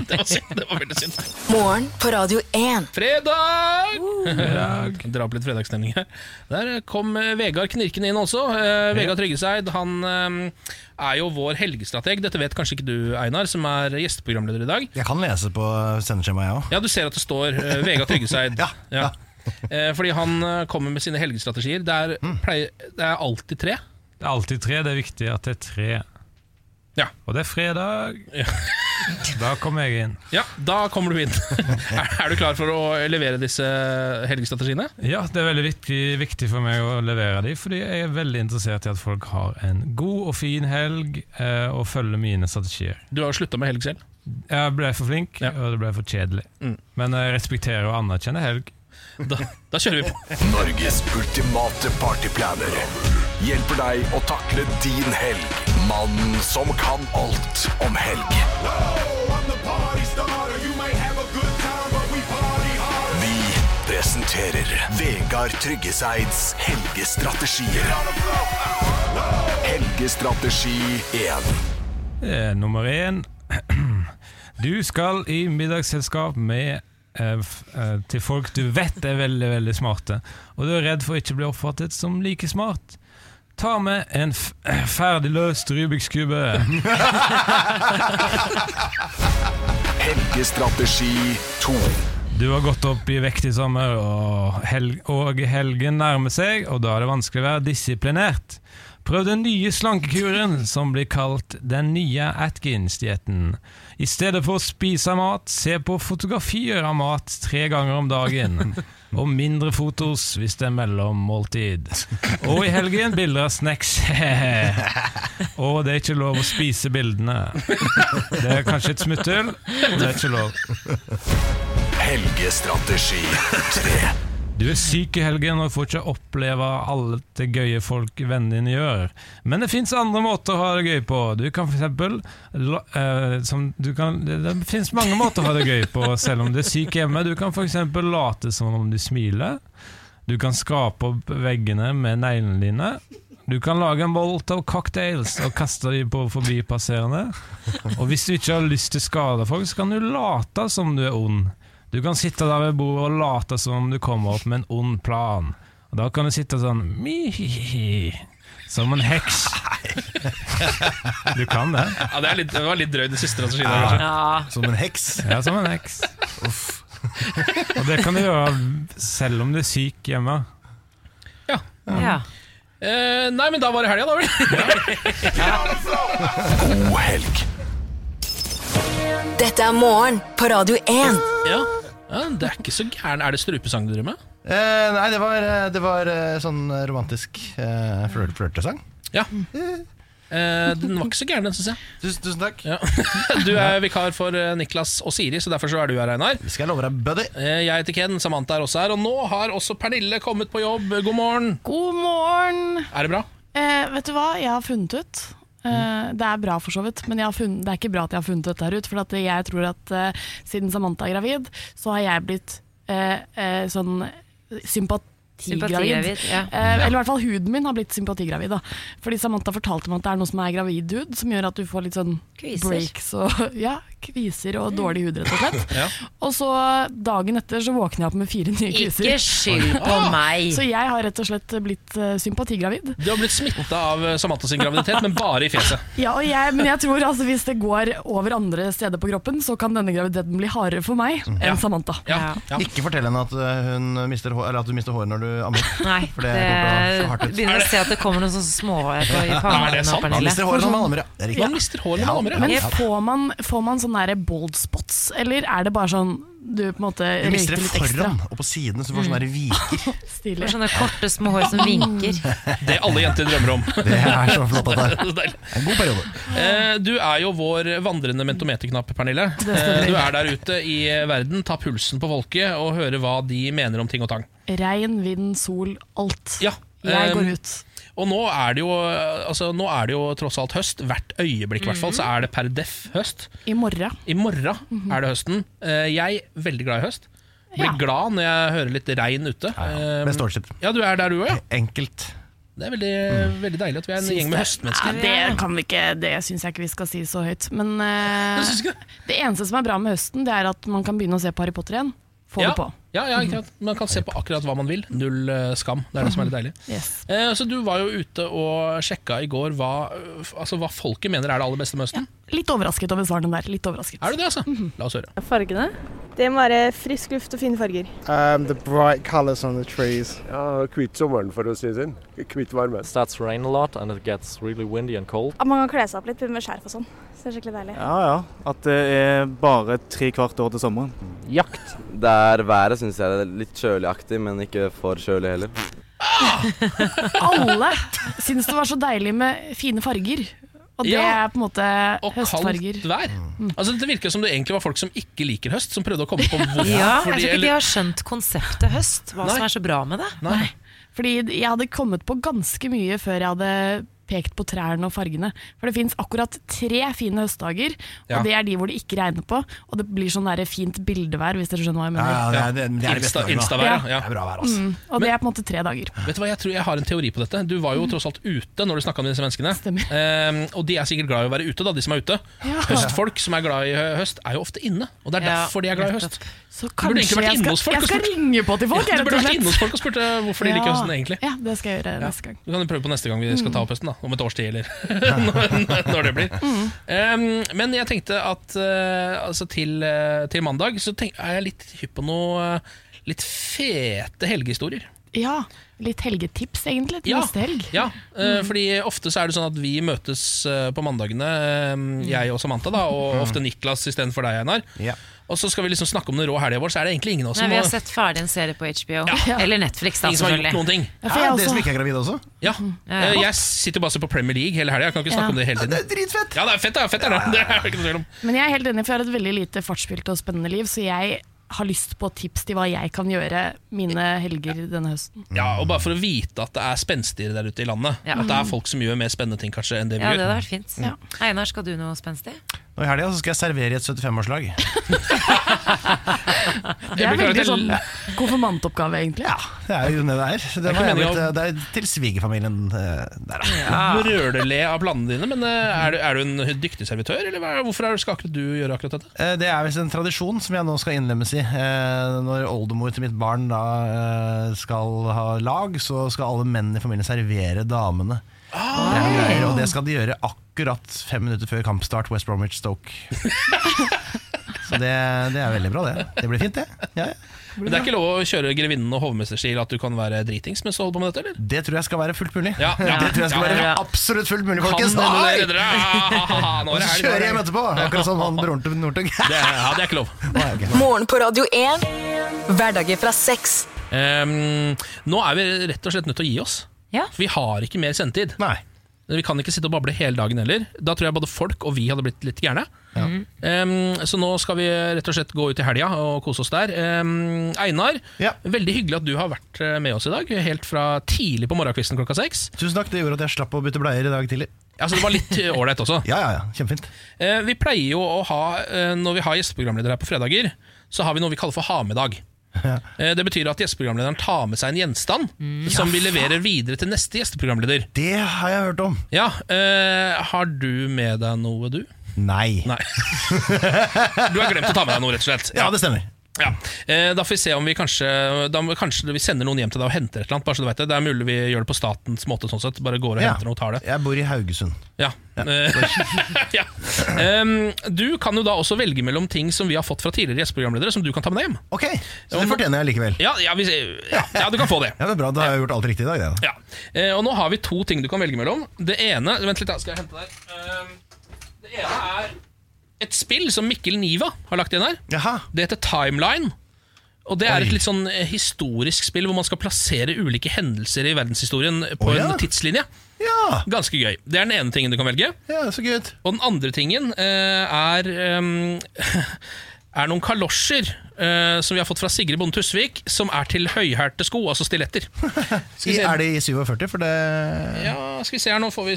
B: det, var synd. det var veldig synd.
D: Morgen på Radio 1.
B: Fredag! Dra opp litt fredagsstemning her. Der kom eh, Vegard Knirken inn også. Eh, Vegard Tryggeseid han eh, er jo vår helgestrateg. Dette vet kanskje ikke du, Einar, som er gjesteprogramleder i dag.
A: Jeg kan lese på sendeskjemaet, jeg òg.
B: Ja, du ser at det står eh, Vegard Tryggeseid.
A: Ja, ja.
B: Eh, fordi han eh, kommer med sine helgestrategier. Det er,
A: Mm.
B: pleier, det er alltid tre.
I: Det er alltid tre. Det er viktig at det er tre.
B: Ja.
I: Og det er fredag.
B: Ja.
I: da kommer jeg inn.
B: Ja, da kommer du inn. er, er du klar for å levere disse helgestrategiene?
I: Ja, det er veldig viktig, viktig for meg å levere de, fordi jeg er veldig interessert i at folk har en god og fin helg eh, og følger mine strategier.
B: Du har jo slutta med helg selv.
I: Jeg ble for flink,
B: Ja.
I: og det ble for kjedelig.
B: Mm.
I: Men jeg respekterer og anerkjenner helg.
B: Da, da kjører vi på.
J: Norges ultimate partyplaner hjelper deg å takle din helg. Mannen som kan alt om helg. Vi presenterer Vegard Tryggeseids helgestrategier. Helgestrategi 1.
I: Eh, nummer én Du skal i middagsselskap med eh, f- eh, til folk du vet er veldig veldig smarte, og du er redd for å ikke bli oppfattet som like smart. Ta med en f ferdig løst Rubiks kube.
J: Helgestrategi 2.
I: Du har gått opp i vekt i sommer, og, hel og helgen nærmer seg, og da er det vanskelig å være disiplinert. Prøv den nye slankekuren, som blir kalt den nye Atkins-dietten. I stedet for å spise mat, se på fotografier av mat tre ganger om dagen. Og mindre fotos hvis det er mellommåltid. Og i helgen bilder av snacks. og det er ikke lov å spise bildene. Det er kanskje et smutthull, men det er ikke lov.
J: Helgestrategi 3.
I: Du er syk i helgen og får ikke oppleve alt det gøye folk vennene dine gjør. Men det fins andre måter å ha det gøy på. Du kan for eksempel, la- eh, som du kan, Det, det fins mange måter å ha det gøy på selv om du er syk hjemme. Du kan f.eks. late som om du smiler. Du kan skrape opp veggene med neglene dine. Du kan lage en bolt av cocktails og kaste dem på forbipasserende. Og hvis du ikke har lyst til å skade folk, så kan du late som du er ond. Du kan sitte der ved bordet og late som om du kommer opp med en ond plan. Og da kan du sitte sånn mi Som en heks. Du kan det.
B: Ja, det, er litt, det var litt drøy, den siste strategien. der, kanskje.
C: Ja.
A: Som en heks.
I: Ja, som en heks. Og det kan du gjøre selv om du er syk hjemme.
C: ja.
B: Eh, nei, men da var det helga, da vel.
J: God helg.
D: Dette er morgen på Radio 1.
B: ja. ja, Det er ikke så gæren. Er det strupesang du driver med?
A: Eh, nei, det var, eh, det var eh, sånn romantisk eh, flør- flørtesang.
B: Ja. Eh, den var ikke så gæren, den, syns jeg.
A: Tusen, tusen takk.
B: Ja. Du er vikar for eh, Niklas og Siri, så derfor så er du her, Einar.
A: Det skal jeg love deg, buddy.
B: Eh, jeg heter Ken, Samantha er også her, og nå har også Pernille kommet på jobb. God morgen.
K: God morgen.
B: Er det bra?
K: Eh, vet du hva, jeg har funnet ut. Eh, det er bra for så vidt, men jeg har funnet, det er ikke bra at jeg har funnet dette her ut. For at jeg tror at eh, siden Samantha er gravid, så har jeg blitt eh, eh, sånn sympatigravid.
C: Sympatigravid. Ja.
K: Eh, eller i hvert fall huden min har blitt sympatigravid. Da. Fordi Samantha fortalte meg at det er noe som er gravid hud, som gjør at du får litt sånn
C: Kviser.
K: breaks og ja, kviser og dårlig hud, rett og slett.
B: Ja.
K: Og så dagen etter så våkner jeg opp med fire nye kviser.
C: Ikke skyld på meg!
K: Så jeg har rett og slett blitt eh, sympatigravid.
B: Du har blitt smitta av eh, Samantha sin graviditet, men bare i fjeset.
K: Ja, og jeg, men jeg tror altså, hvis det går over andre steder på kroppen, så kan denne graviditeten bli hardere for meg enn
B: Mm. Ja.
K: Samantha.
B: Ja, ja.
A: Ikke fortell henne at, eh, hun mister hår, eller at du mister håret når du ammer.
C: Nei,
A: For det kommer til å se hardt ut.
C: begynner å se at det kommer noen sånne små på- i
A: Er det
C: pannen. nå,
A: sant? Man
C: Pernille.
A: mister håret når man ammer, ja. Det er riktig.
B: Man mister håret når man ammer, ja.
K: Men
B: Ja.
K: får man, får man sånne der bold spots, eller er det bare sånn du på en måte
A: Du mister
K: røyker
A: det
K: litt ekstra? Mm.
A: foran og på sidene, så du får sånne der viker.
K: Stilig.
C: Sånne korte, små hår som vinker.
B: Det alle jenter drømmer om.
A: Det er så flott at det er.
B: Så deilig.
A: En god periode.
B: Eh, Du er jo vår vandrende mentometerknapp, Pernille.
K: Det stemmer.
B: Eh, Du er der ute i verden, ta pulsen på folket og høre hva de mener om ting og tang.
K: Regn, vind, sol, alt.
B: Ja,
K: Jeg går
B: eh,
K: ut.
B: Og nå er, det jo, altså, nå er det jo tross alt høst. Hvert øyeblikk i hvert fall, så er det per deff høst.
K: Mhm. I morgen.
B: I morgen er det høsten. Eh, Jeg er veldig glad i høst. Blir
K: Ja.
B: glad når jeg hører litt regn ute. Eh,
A: Beste årstid.
B: Ja, du er der du òg, ja.
A: Enkelt.
B: Det er veldig, veldig deilig at vi er en gjeng med høstmennesker.
K: Ja, det kan vi ikke, det syns jeg ikke vi skal si så høyt. Men eh, det eneste som er bra med høsten, det er at man kan begynne å se på Harry Potter igjen. Få
B: ja.
K: det på.
B: Ja, ja, ikke sant. Man kan se på akkurat hva man vil. Null eh, skam. Det er det som er litt deilig.
K: Yes.
B: Eh, så Du var jo ute og sjekka i går hva, eh, f- altså, hva folket mener er det aller beste med høsten.
K: Litt overrasket over svarene der. Litt overrasket. Mhm.
B: Er du det, altså? La oss høre.
H: Fargene? Det må være frisk luft og fine farger.
L: Um, the bright colours on the trees. Ja, Kvitt sommeren, for å si det sånn. Kvitt varmen.
M: starts to rain a lot and it gets really windy and cold.
N: At man kan kle seg opp litt med skjerf og sånn. Så det er skikkelig deilig.
O: Ja, ja. At det
A: Eh,
O: er bare tre kvart år til sommeren.
P: Jakt. Det er været, syns jeg. Det er litt kjøligaktig, men ikke for kjølig heller.
K: Alle syns det var så deilig med fine farger. Og det
B: Ja.
K: er på en måte høstfarger. Mhm.
B: Kaldt vær. Altså, det virker som det egentlig var folk som ikke liker høst, som prøvde å komme på hvorfor.
C: Ja, jeg tror
B: fordi-
C: ikke de
B: eller-
C: har skjønt konseptet høst, hva
B: Nei.
C: som er så bra med det.
K: Fordi jeg hadde kommet på ganske mye før jeg hadde pekt på trærne og fargene. For det fins akkurat tre fine høstdager, og
B: Ja.
K: det er de hvor det ikke regner på. Og det blir sånn der fint bildevær, hvis dere skjønner hva jeg mener.
A: Ja, det er- det er altså. de beste
B: Insta-
A: dagene, da.
B: Instavær, ja. ja.
K: Mm, og det er på en måte tre dager.
B: Vet du hva, Jeg tror jeg har en teori på dette. Du var
K: Mm.
B: jo tross alt ute når du snakka med disse menneskene. Ehm, og de er sikkert glad i å være ute, da, de som er ute.
K: Ja.
B: Høstfolk som er glad i hø- høst, er jo ofte inne. Og det er
K: Ja,
B: derfor de er glad i høst.
K: Så
B: Du burde egentlig
K: kanskje
B: vært
K: jeg
B: inne
K: skal,
B: hos folk
K: jeg
B: og
K: skal
B: spurt-
K: ringe på til folk,
B: Ja,
K: jeg,
B: du
K: rett
B: burde
K: og
B: vært
K: slett.
B: inne hos folk og spurt eh, hvorfor de liker
K: Ja.
B: høsten egentlig.
K: Ja, det skal jeg gjøre neste gang. Mm.
B: Du kan jo prøve på neste gang vi skal ta opp høsten, da. Om et års tid, eller når, når det blir. Ehm, men jeg tenkte at eh, altså til, eh, til mandag så tenk, er jeg litt hypp på noe eh, litt fete helgehistorier.
K: Ja, litt helgetips egentlig til
B: Ja.
K: neste helg.
B: Ja, eh,
K: Mm.
B: fordi ofte så er det sånn at vi møtes eh, på mandagene, eh, jeg og Samantha, da, og
C: Mm.
B: ofte Niklas istedenfor deg, Einar. Og så skal vi liksom snakke om den rå helga vår, så er det egentlig ingen av oss
C: Nei,
B: som
C: vi har
B: har-
C: sett ferdig en serie på HBO. Eller Netflix, da,
B: Ingen som har gjort noen
C: selvfølgelig.
B: ting.
C: Ja, for jeg også-
A: ikke er gravide også?
B: Ja.
C: Ja.
B: Eh, Jeg sitter bare og ser på Premier League hele helga. Jeg kan ikke snakke
K: Ja.
B: om det hele tiden. det er dritfett! Ja, det er fett, det er fett, det er det. Det er det ikke noe tvil om.
K: Men jeg er helt enig, for jeg har et veldig lite fartsfylt og spennende liv, så jeg har lyst på tips til hva jeg kan gjøre mine helger denne høsten.
B: Ja, og bare for å vite at det er spenstigere der ute i landet.
C: Ja.
B: At det er folk som gjør mer spennende ting kanskje enn det vi
C: Ja, det
B: gjør.
C: hadde vært fint. Einar, skal du noe spenstig?
A: Nå I helga så skal jeg servere i et 75-årslag.
K: Det er
A: beklager
K: veldig
A: at jeg-
K: sånn konfirmantoppgave, egentlig.
A: Det er jo det det er. Det,
B: Det
A: var
B: er ikke
A: jeg
B: meningen
A: blitt, eh, det er til svigerfamilien eh, der, da.
B: Du Brøler-le av planene dine, men eh, er du, er du en dyktig servitør, eller hva- hvorfor er- skal akkurat du gjøre akkurat dette?
A: Eh, Det er visst en tradisjon som jeg nå skal innlemmes i. Eh, Når oldemor til mitt barn da eh, skal ha lag, så skal alle menn i familien servere damene. Det er noe greier, og det skal de gjøre akkurat fem minutter før kampstart West Bromwich Stoke. Så det, det er veldig bra, det. Det blir fint, det. Ja, ja.
B: Men Det er ikke lov å kjøre grevinnen og hovmesterstil at du kan være dritings mens du holder på med dette, eller?
A: Det tror jeg skal være fullt mulig.
B: Ja, ja.
A: Det tror jeg skal
B: Ja,
A: være
B: ja.
A: absolutt fullt mulig,
B: Kan
A: folkens.
B: dere
A: Nei!
B: redde dere? Ah, ah, ah, ah, nå er
A: Og
B: det
A: så
B: helg, nå er
A: kjører
B: det
A: hjem
B: helg.
A: etterpå, akkurat som han broren til Northug.
B: Det er, ja, det er ikke lov.
D: Morgen på Radio 1. Hverdager fra seks.
B: Ehm, nå er vi rett og slett nødt til å gi oss. For vi har ikke mer sendetid. Vi kan ikke sitte og bable hele dagen heller. Da tror jeg både folk og vi hadde blitt litt gærne. Ehm, så nå skal vi rett og slett gå ut i helga og kose oss der. Ehm, Einar, veldig hyggelig at du har vært eh, med oss i dag. Helt fra tidlig på morgenkvisten klokka seks.
A: Tusen takk, det gjorde at jeg slapp å bytte bleier i dag tidlig.
B: Altså, det var litt eh, ålreit også.
A: Ja, ja, ja, kjempefint
B: Eh, Vi pleier jo å ha, eh, når vi har gjesteprogramledere her på fredager, så har vi noe vi kaller for ha-med-dag. Eh, Det betyr at gjesteprogramlederen tar med seg en gjenstand
A: Mm.
B: som vi leverer videre til neste gjesteprogramleder.
A: Det har jeg hørt om.
B: Ja, eh, Har du med deg noe, du?
A: Nei.
B: Du har glemt å ta med deg noe, rett og slett.
A: Ja, det stemmer.
B: Ja, eh, Da får vi se om vi kanskje Da må- kanskje vi sender noen hjem til deg og henter et eller annet. Bare så du vet Det Det er mulig vi gjør det på statens måte. sånn sett Bare går og
A: Ja.
B: henter noe og tar det.
A: Jeg bor i Haugesund.
B: Ja. Eh, ja. Em, du kan jo da også velge mellom ting som vi har fått fra tidligere gjesteprogramledere, som du kan ta med deg hjem.
A: Ok, Så det fortjener jeg likevel.
B: Ja, ja, hvis, ja, ja, du kan få det.
A: Ja, det er bra, Da har jeg gjort alt riktig i dag. Det, da.
B: Ja. Eh, og nå har vi to ting du kan velge mellom. Det ene Vent litt, da skal jeg hente der. Em, det ene er et spill som Mikkel Niva har lagt igjen her. Det heter Timeline. Og Det er et litt sånn eh, historisk spill hvor man skal plassere ulike hendelser i verdenshistorien på
A: Å, ja.
B: en tidslinje. Ganske gøy. Det er den ene tingen du kan velge.
A: Ja, så gøy.
B: Og den andre tingen eh, er eh, Er noen kalosjer eh, som vi har fått fra Sigrid Bonde Tusvik, som er til høyhælte sko, altså stiletter.
A: I, er det i 47, for det
B: Ja, skal vi se her, nå får vi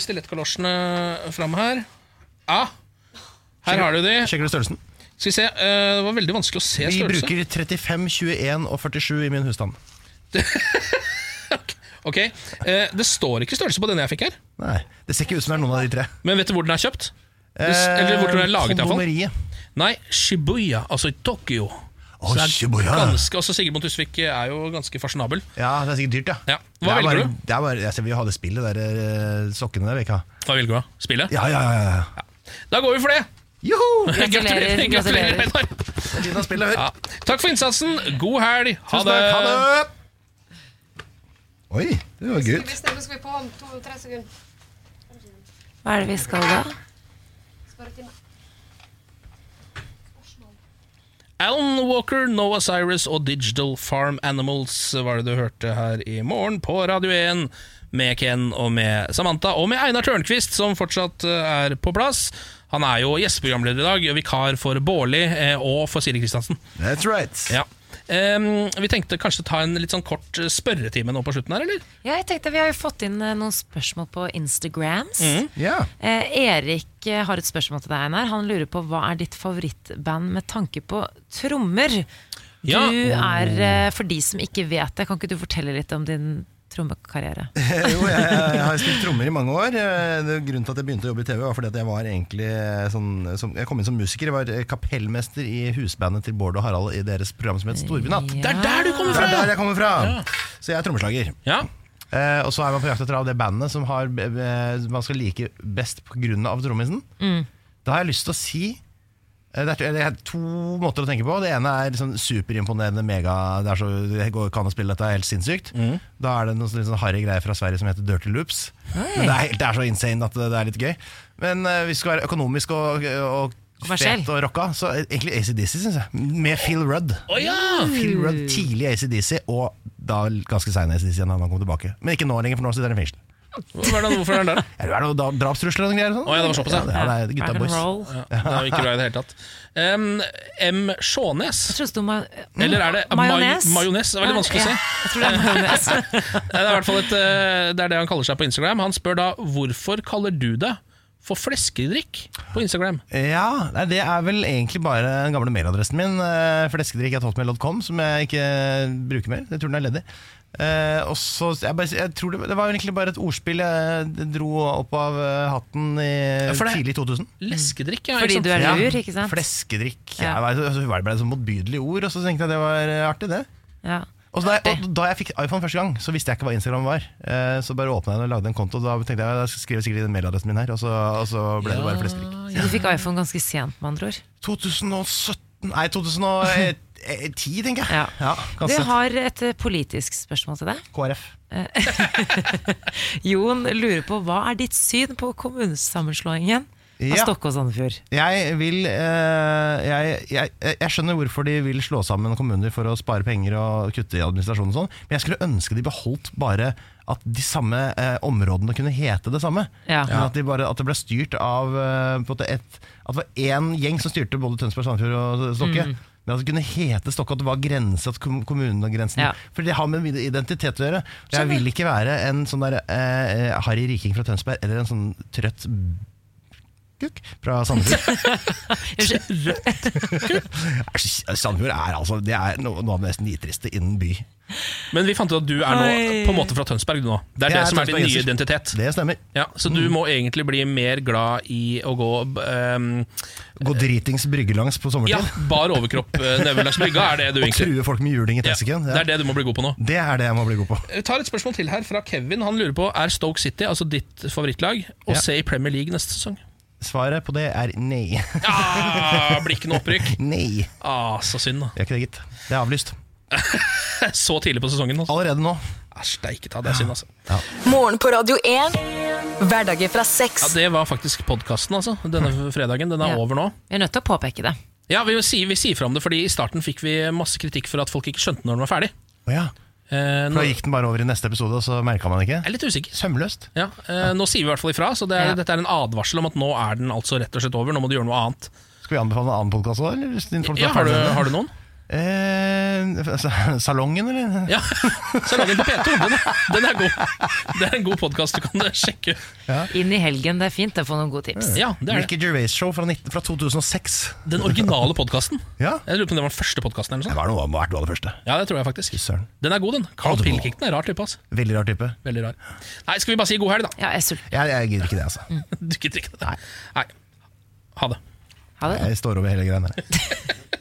B: stilettkalosjene fram her. Ja, her har du de.
A: Sjekker du størrelsen?
B: Skal vi se, eh, det var veldig vanskelig å se
A: Vi
B: størrelse.
A: bruker 35, 21 og 47 i min husstand.
B: Ok, eh, Det står ikke størrelse på den jeg fikk her.
A: Nei, Det ser ikke ut som det er noen av de tre.
B: Men vet du hvor den er kjøpt? Det s-
A: Eh,
B: Eller hvor den er laget,
A: kondomeriet.
B: iallfall. Nei, Shibuya, altså i Tokyo.
A: Å,
B: Så det er
A: Shibuya.
B: Ganske, altså Sigrid Bonde Tusvik er jo ganske fasjonabel.
A: Ja, Det er sikkert dyrt, ja.
B: Hva
A: det er
B: velger
A: bare,
B: du?
A: Det er bare, jeg vil ha det spillet der, eh, sokkene der vil jeg ikke ha.
B: Hva velger du? da? Spillet?
A: Ja, ja, ja, ja.
B: Da går vi for det!
A: Joho!
B: Gratulerer, gratulerer, Einar. Ja. Takk for innsatsen. God helg. Ha
A: Tusen takk,
B: det.
A: ha det! Oi, det var
G: Skal
A: good.
G: vi bestemme oss vi på om to-tre sekunder?
C: Hva er det vi skal da?
G: Spørretime.
B: Alan Walker, Noah Cyrus og Digital Farm Animals var det du hørte her i morgen på Radio 1. Med Ken og med Samantha og med Einar Tørnquist, som fortsatt eh, er på plass. Han er jo gjesteprogramleder i dag, vikar for Bårli eh, og for Siri Kristiansen.
A: That's right.
B: Ja. Em, vi tenkte kanskje ta en litt sånn kort eh, spørretime nå på slutten her, eller?
C: Ja, jeg tenkte Vi har jo fått inn eh, noen spørsmål på Instagrams.
B: Mhm. Ja.
C: Eh, Erik eh, har et spørsmål til deg. Einar. Han lurer på hva er ditt favorittband med tanke på trommer. Du
B: Ja.
C: er, eh, For de som ikke vet det, kan ikke du fortelle litt om din trommekarriere?
A: jo, jeg, jeg har spilt trommer i mange år. Eh, det- Grunnen til at jeg begynte å jobbe i TV, var fordi at jeg var egentlig eh, sånn som, Jeg kom inn som musiker. Jeg var eh, kapellmester i husbandet til Bård og Harald i deres program som het Storbynatt.
B: Det er der du kommer fra!
A: Det er der jeg kommer fra!
B: Ja.
A: Så jeg er trommeslager.
B: Ja.
A: Eh, og så er man på jakt etter av det bandet som har, eh, man skal like best pga. trommisen.
C: Mm.
A: Da har jeg lyst til å si eh, det er, det er to måter å tenke på. Det ene er sånn superimponerende mega Det er så, det går, kan å spille dette, er helt sinnssykt. Da er det noen sånne sånn harry greier fra Sverige som heter Dirty Loops.
C: Hei.
A: Men det, er, helt- det er så insane at det, det er litt gøy. Men eh, hvis du skal være økonomisk og, og
C: Kommersiell.
A: fet og rocka, så eh, egentlig ACDC, syns jeg. Med Phil Rudd.
B: Å, ja!
A: Phil Rudd Tidlig ACDC, og da ganske sein ACDC igjen da han kom tilbake. Men ikke nå lenger, for nå sitter han i fengsel.
B: Hva er det- Hvorfor er den der, da?
A: Er det noen da- drapstrusler og noen greier? og sånn?
B: Å ja, det var såpass,
A: ja. det er gutta boys.
B: Ja, det er jo ikke bra i det hele tatt. Em, M. Sjånes. Eller er det
C: mm,
B: Majones?
C: Majones?
B: Majones? Det er veldig vanskelig å
C: Ja,
B: se.
C: jeg tror det er majones.
B: det er i hvert fall et, eh, det er det han kaller seg på Instagram. Han spør da hvorfor kaller du deg for fleskedrikk på Instagram.
A: Ja, nei, det er vel egentlig bare den gamle mailadressen min, eh, fleskedrikk.hotmail.com, som jeg ikke bruker mer. Jeg tror den er ledig. Eh, og så, jeg bare, jeg tror det, det var egentlig bare et ordspill jeg dro opp av eh, hatten i
B: Ja, for det-
A: tidlig 2000.
B: Leskedrikk, ja.
C: Fordi
B: ikke sant?
C: du er lur, ikke sant?
A: Fleskedrikk.
C: Ja.
A: Ja. Jeg, var- altså, det ble et sånn motbydelig ord, og så tenkte jeg det var eh, artig, det.
C: Ja.
A: Og så da, jeg, og da jeg fikk iPhone første gang, så visste jeg ikke hva Instagram var. Eh, Så bare åpna jeg den og lagde en konto. Da tenkte jeg jeg skriver jeg sikkert i den mailadressen min her, og så, og så ble det bare flestrik.
C: Så du fikk iPhone ganske sent, med andre ord?
A: 2017 Nei, 2010, eh, tenker jeg.
C: Ja.
A: ganske
C: du
A: sent.
C: har et eh, politisk spørsmål til deg.
A: KrF.
C: Jon lurer på hva er ditt syn på kommunesammenslåingen av
A: Ja.
C: Stokke og Sandefjord?
A: Jeg vil eh, jeg, jeg, jeg skjønner hvorfor de vil slå sammen kommuner for å spare penger og kutte i administrasjon og sånn, men jeg skulle ønske de beholdt bare at de samme eh, områdene kunne hete det samme.
C: Ja.
A: Men at, de bare, at det ble styrt av eh, på en måte et, At det var én gjeng som styrte både Tønsberg, Sandefjord og Stokke.
C: Mm.
A: Men at det kunne hete Stokke, at det var grense, at kom- kommunegrensen
C: Ja.
A: For det har med min identitet å gjøre. Jeg vil ikke være en sånn der eh, eh, harry riking fra Tønsberg eller en sånn trøtt kukk fra Sandefjord. Trøtt kukk? Sandefjord er altså Det er noe noe av det mest nitriste innen by.
B: Men vi fant ut at du er nå
A: Oi.
B: på en måte fra Tønsberg du nå. Det er
A: Jeg
B: det
A: er
B: som er din nye
A: tønsbergenser.
B: identitet.
A: Det Mm. stemmer.
B: Ja, så du må egentlig bli mer glad i å gå ehm,
A: Gå dritings bryggelangs på
B: Ja,
A: sommertid.
B: bar overkropp eh, nedover langs brygga er det du
A: og
B: egentlig
A: true folk med juling i tessiken.
B: Det er det du må bli god på nå.
A: Det er det jeg må bli god på.
B: Vi tar et spørsmål til her fra Kevin. Han lurer på er Stoke City, altså ditt favorittlag, å
A: Ja.
B: se i Premier League neste sesong.
A: Svaret på det er nei.
B: Ah, blir ikke noe opprykk.
A: Nei.
B: Ah, så synd, da.
A: Det er ikke det, gitt. Det er avlyst.
B: Så tidlig på sesongen. Altså.
A: Allerede nå.
B: Æsj, det er ikke ta, det er synd, altså.
D: Morgen på Radio 1. Hverdager fra
B: Ja,
D: seks.
B: Det var faktisk podkasten, altså. Denne fredagen. Den er
C: Ja.
B: over nå.
C: Vi er nødt til å påpeke det.
B: Ja, vi, sier, vi sier fra om det, fordi i starten fikk vi masse kritikk for at folk ikke skjønte når den var ferdig.
A: Å ja.
B: Eh,
A: For
B: nå,
A: da gikk den bare over i neste episode, og så merka man ikke?
B: Jeg er litt usikker.
A: Sømløst.
B: ja, eh, nå sier vi i hvert fall ifra, så det er,
A: Ja.
B: dette er en advarsel om at nå er den altså rett og slett over. Nå må du gjøre noe annet.
A: Skal vi anbefale en annen podkast òg?
B: Ja, har du- har du noen?
A: Eh, sa- salongen, eller?
B: Ja, Salongen på P2, den, den er god. Det er en god podkast du kan sjekke.
C: Inn i helgen, det er fint å få noen gode tips.
A: Ricky Gervais Show fra, 19, fra 2006.
B: Den originale podkasten.
A: Ja.
B: Jeg lurer på om det var den første podkasten.
A: Det var noe om hvert du hadde første.
B: Ja, det tror jeg faktisk. Den er god, den. Carl Pilkington er rar type. Altså.
A: Veldig rar type.
B: Veldig rar. Nei, skal vi bare si god helg, da?
C: Ja, jeg er sulten.
A: Jeg, jeg gidder ikke det, altså.
B: Du gidder ikke det? Nei. Ha det.
A: Jeg står over hele greia der.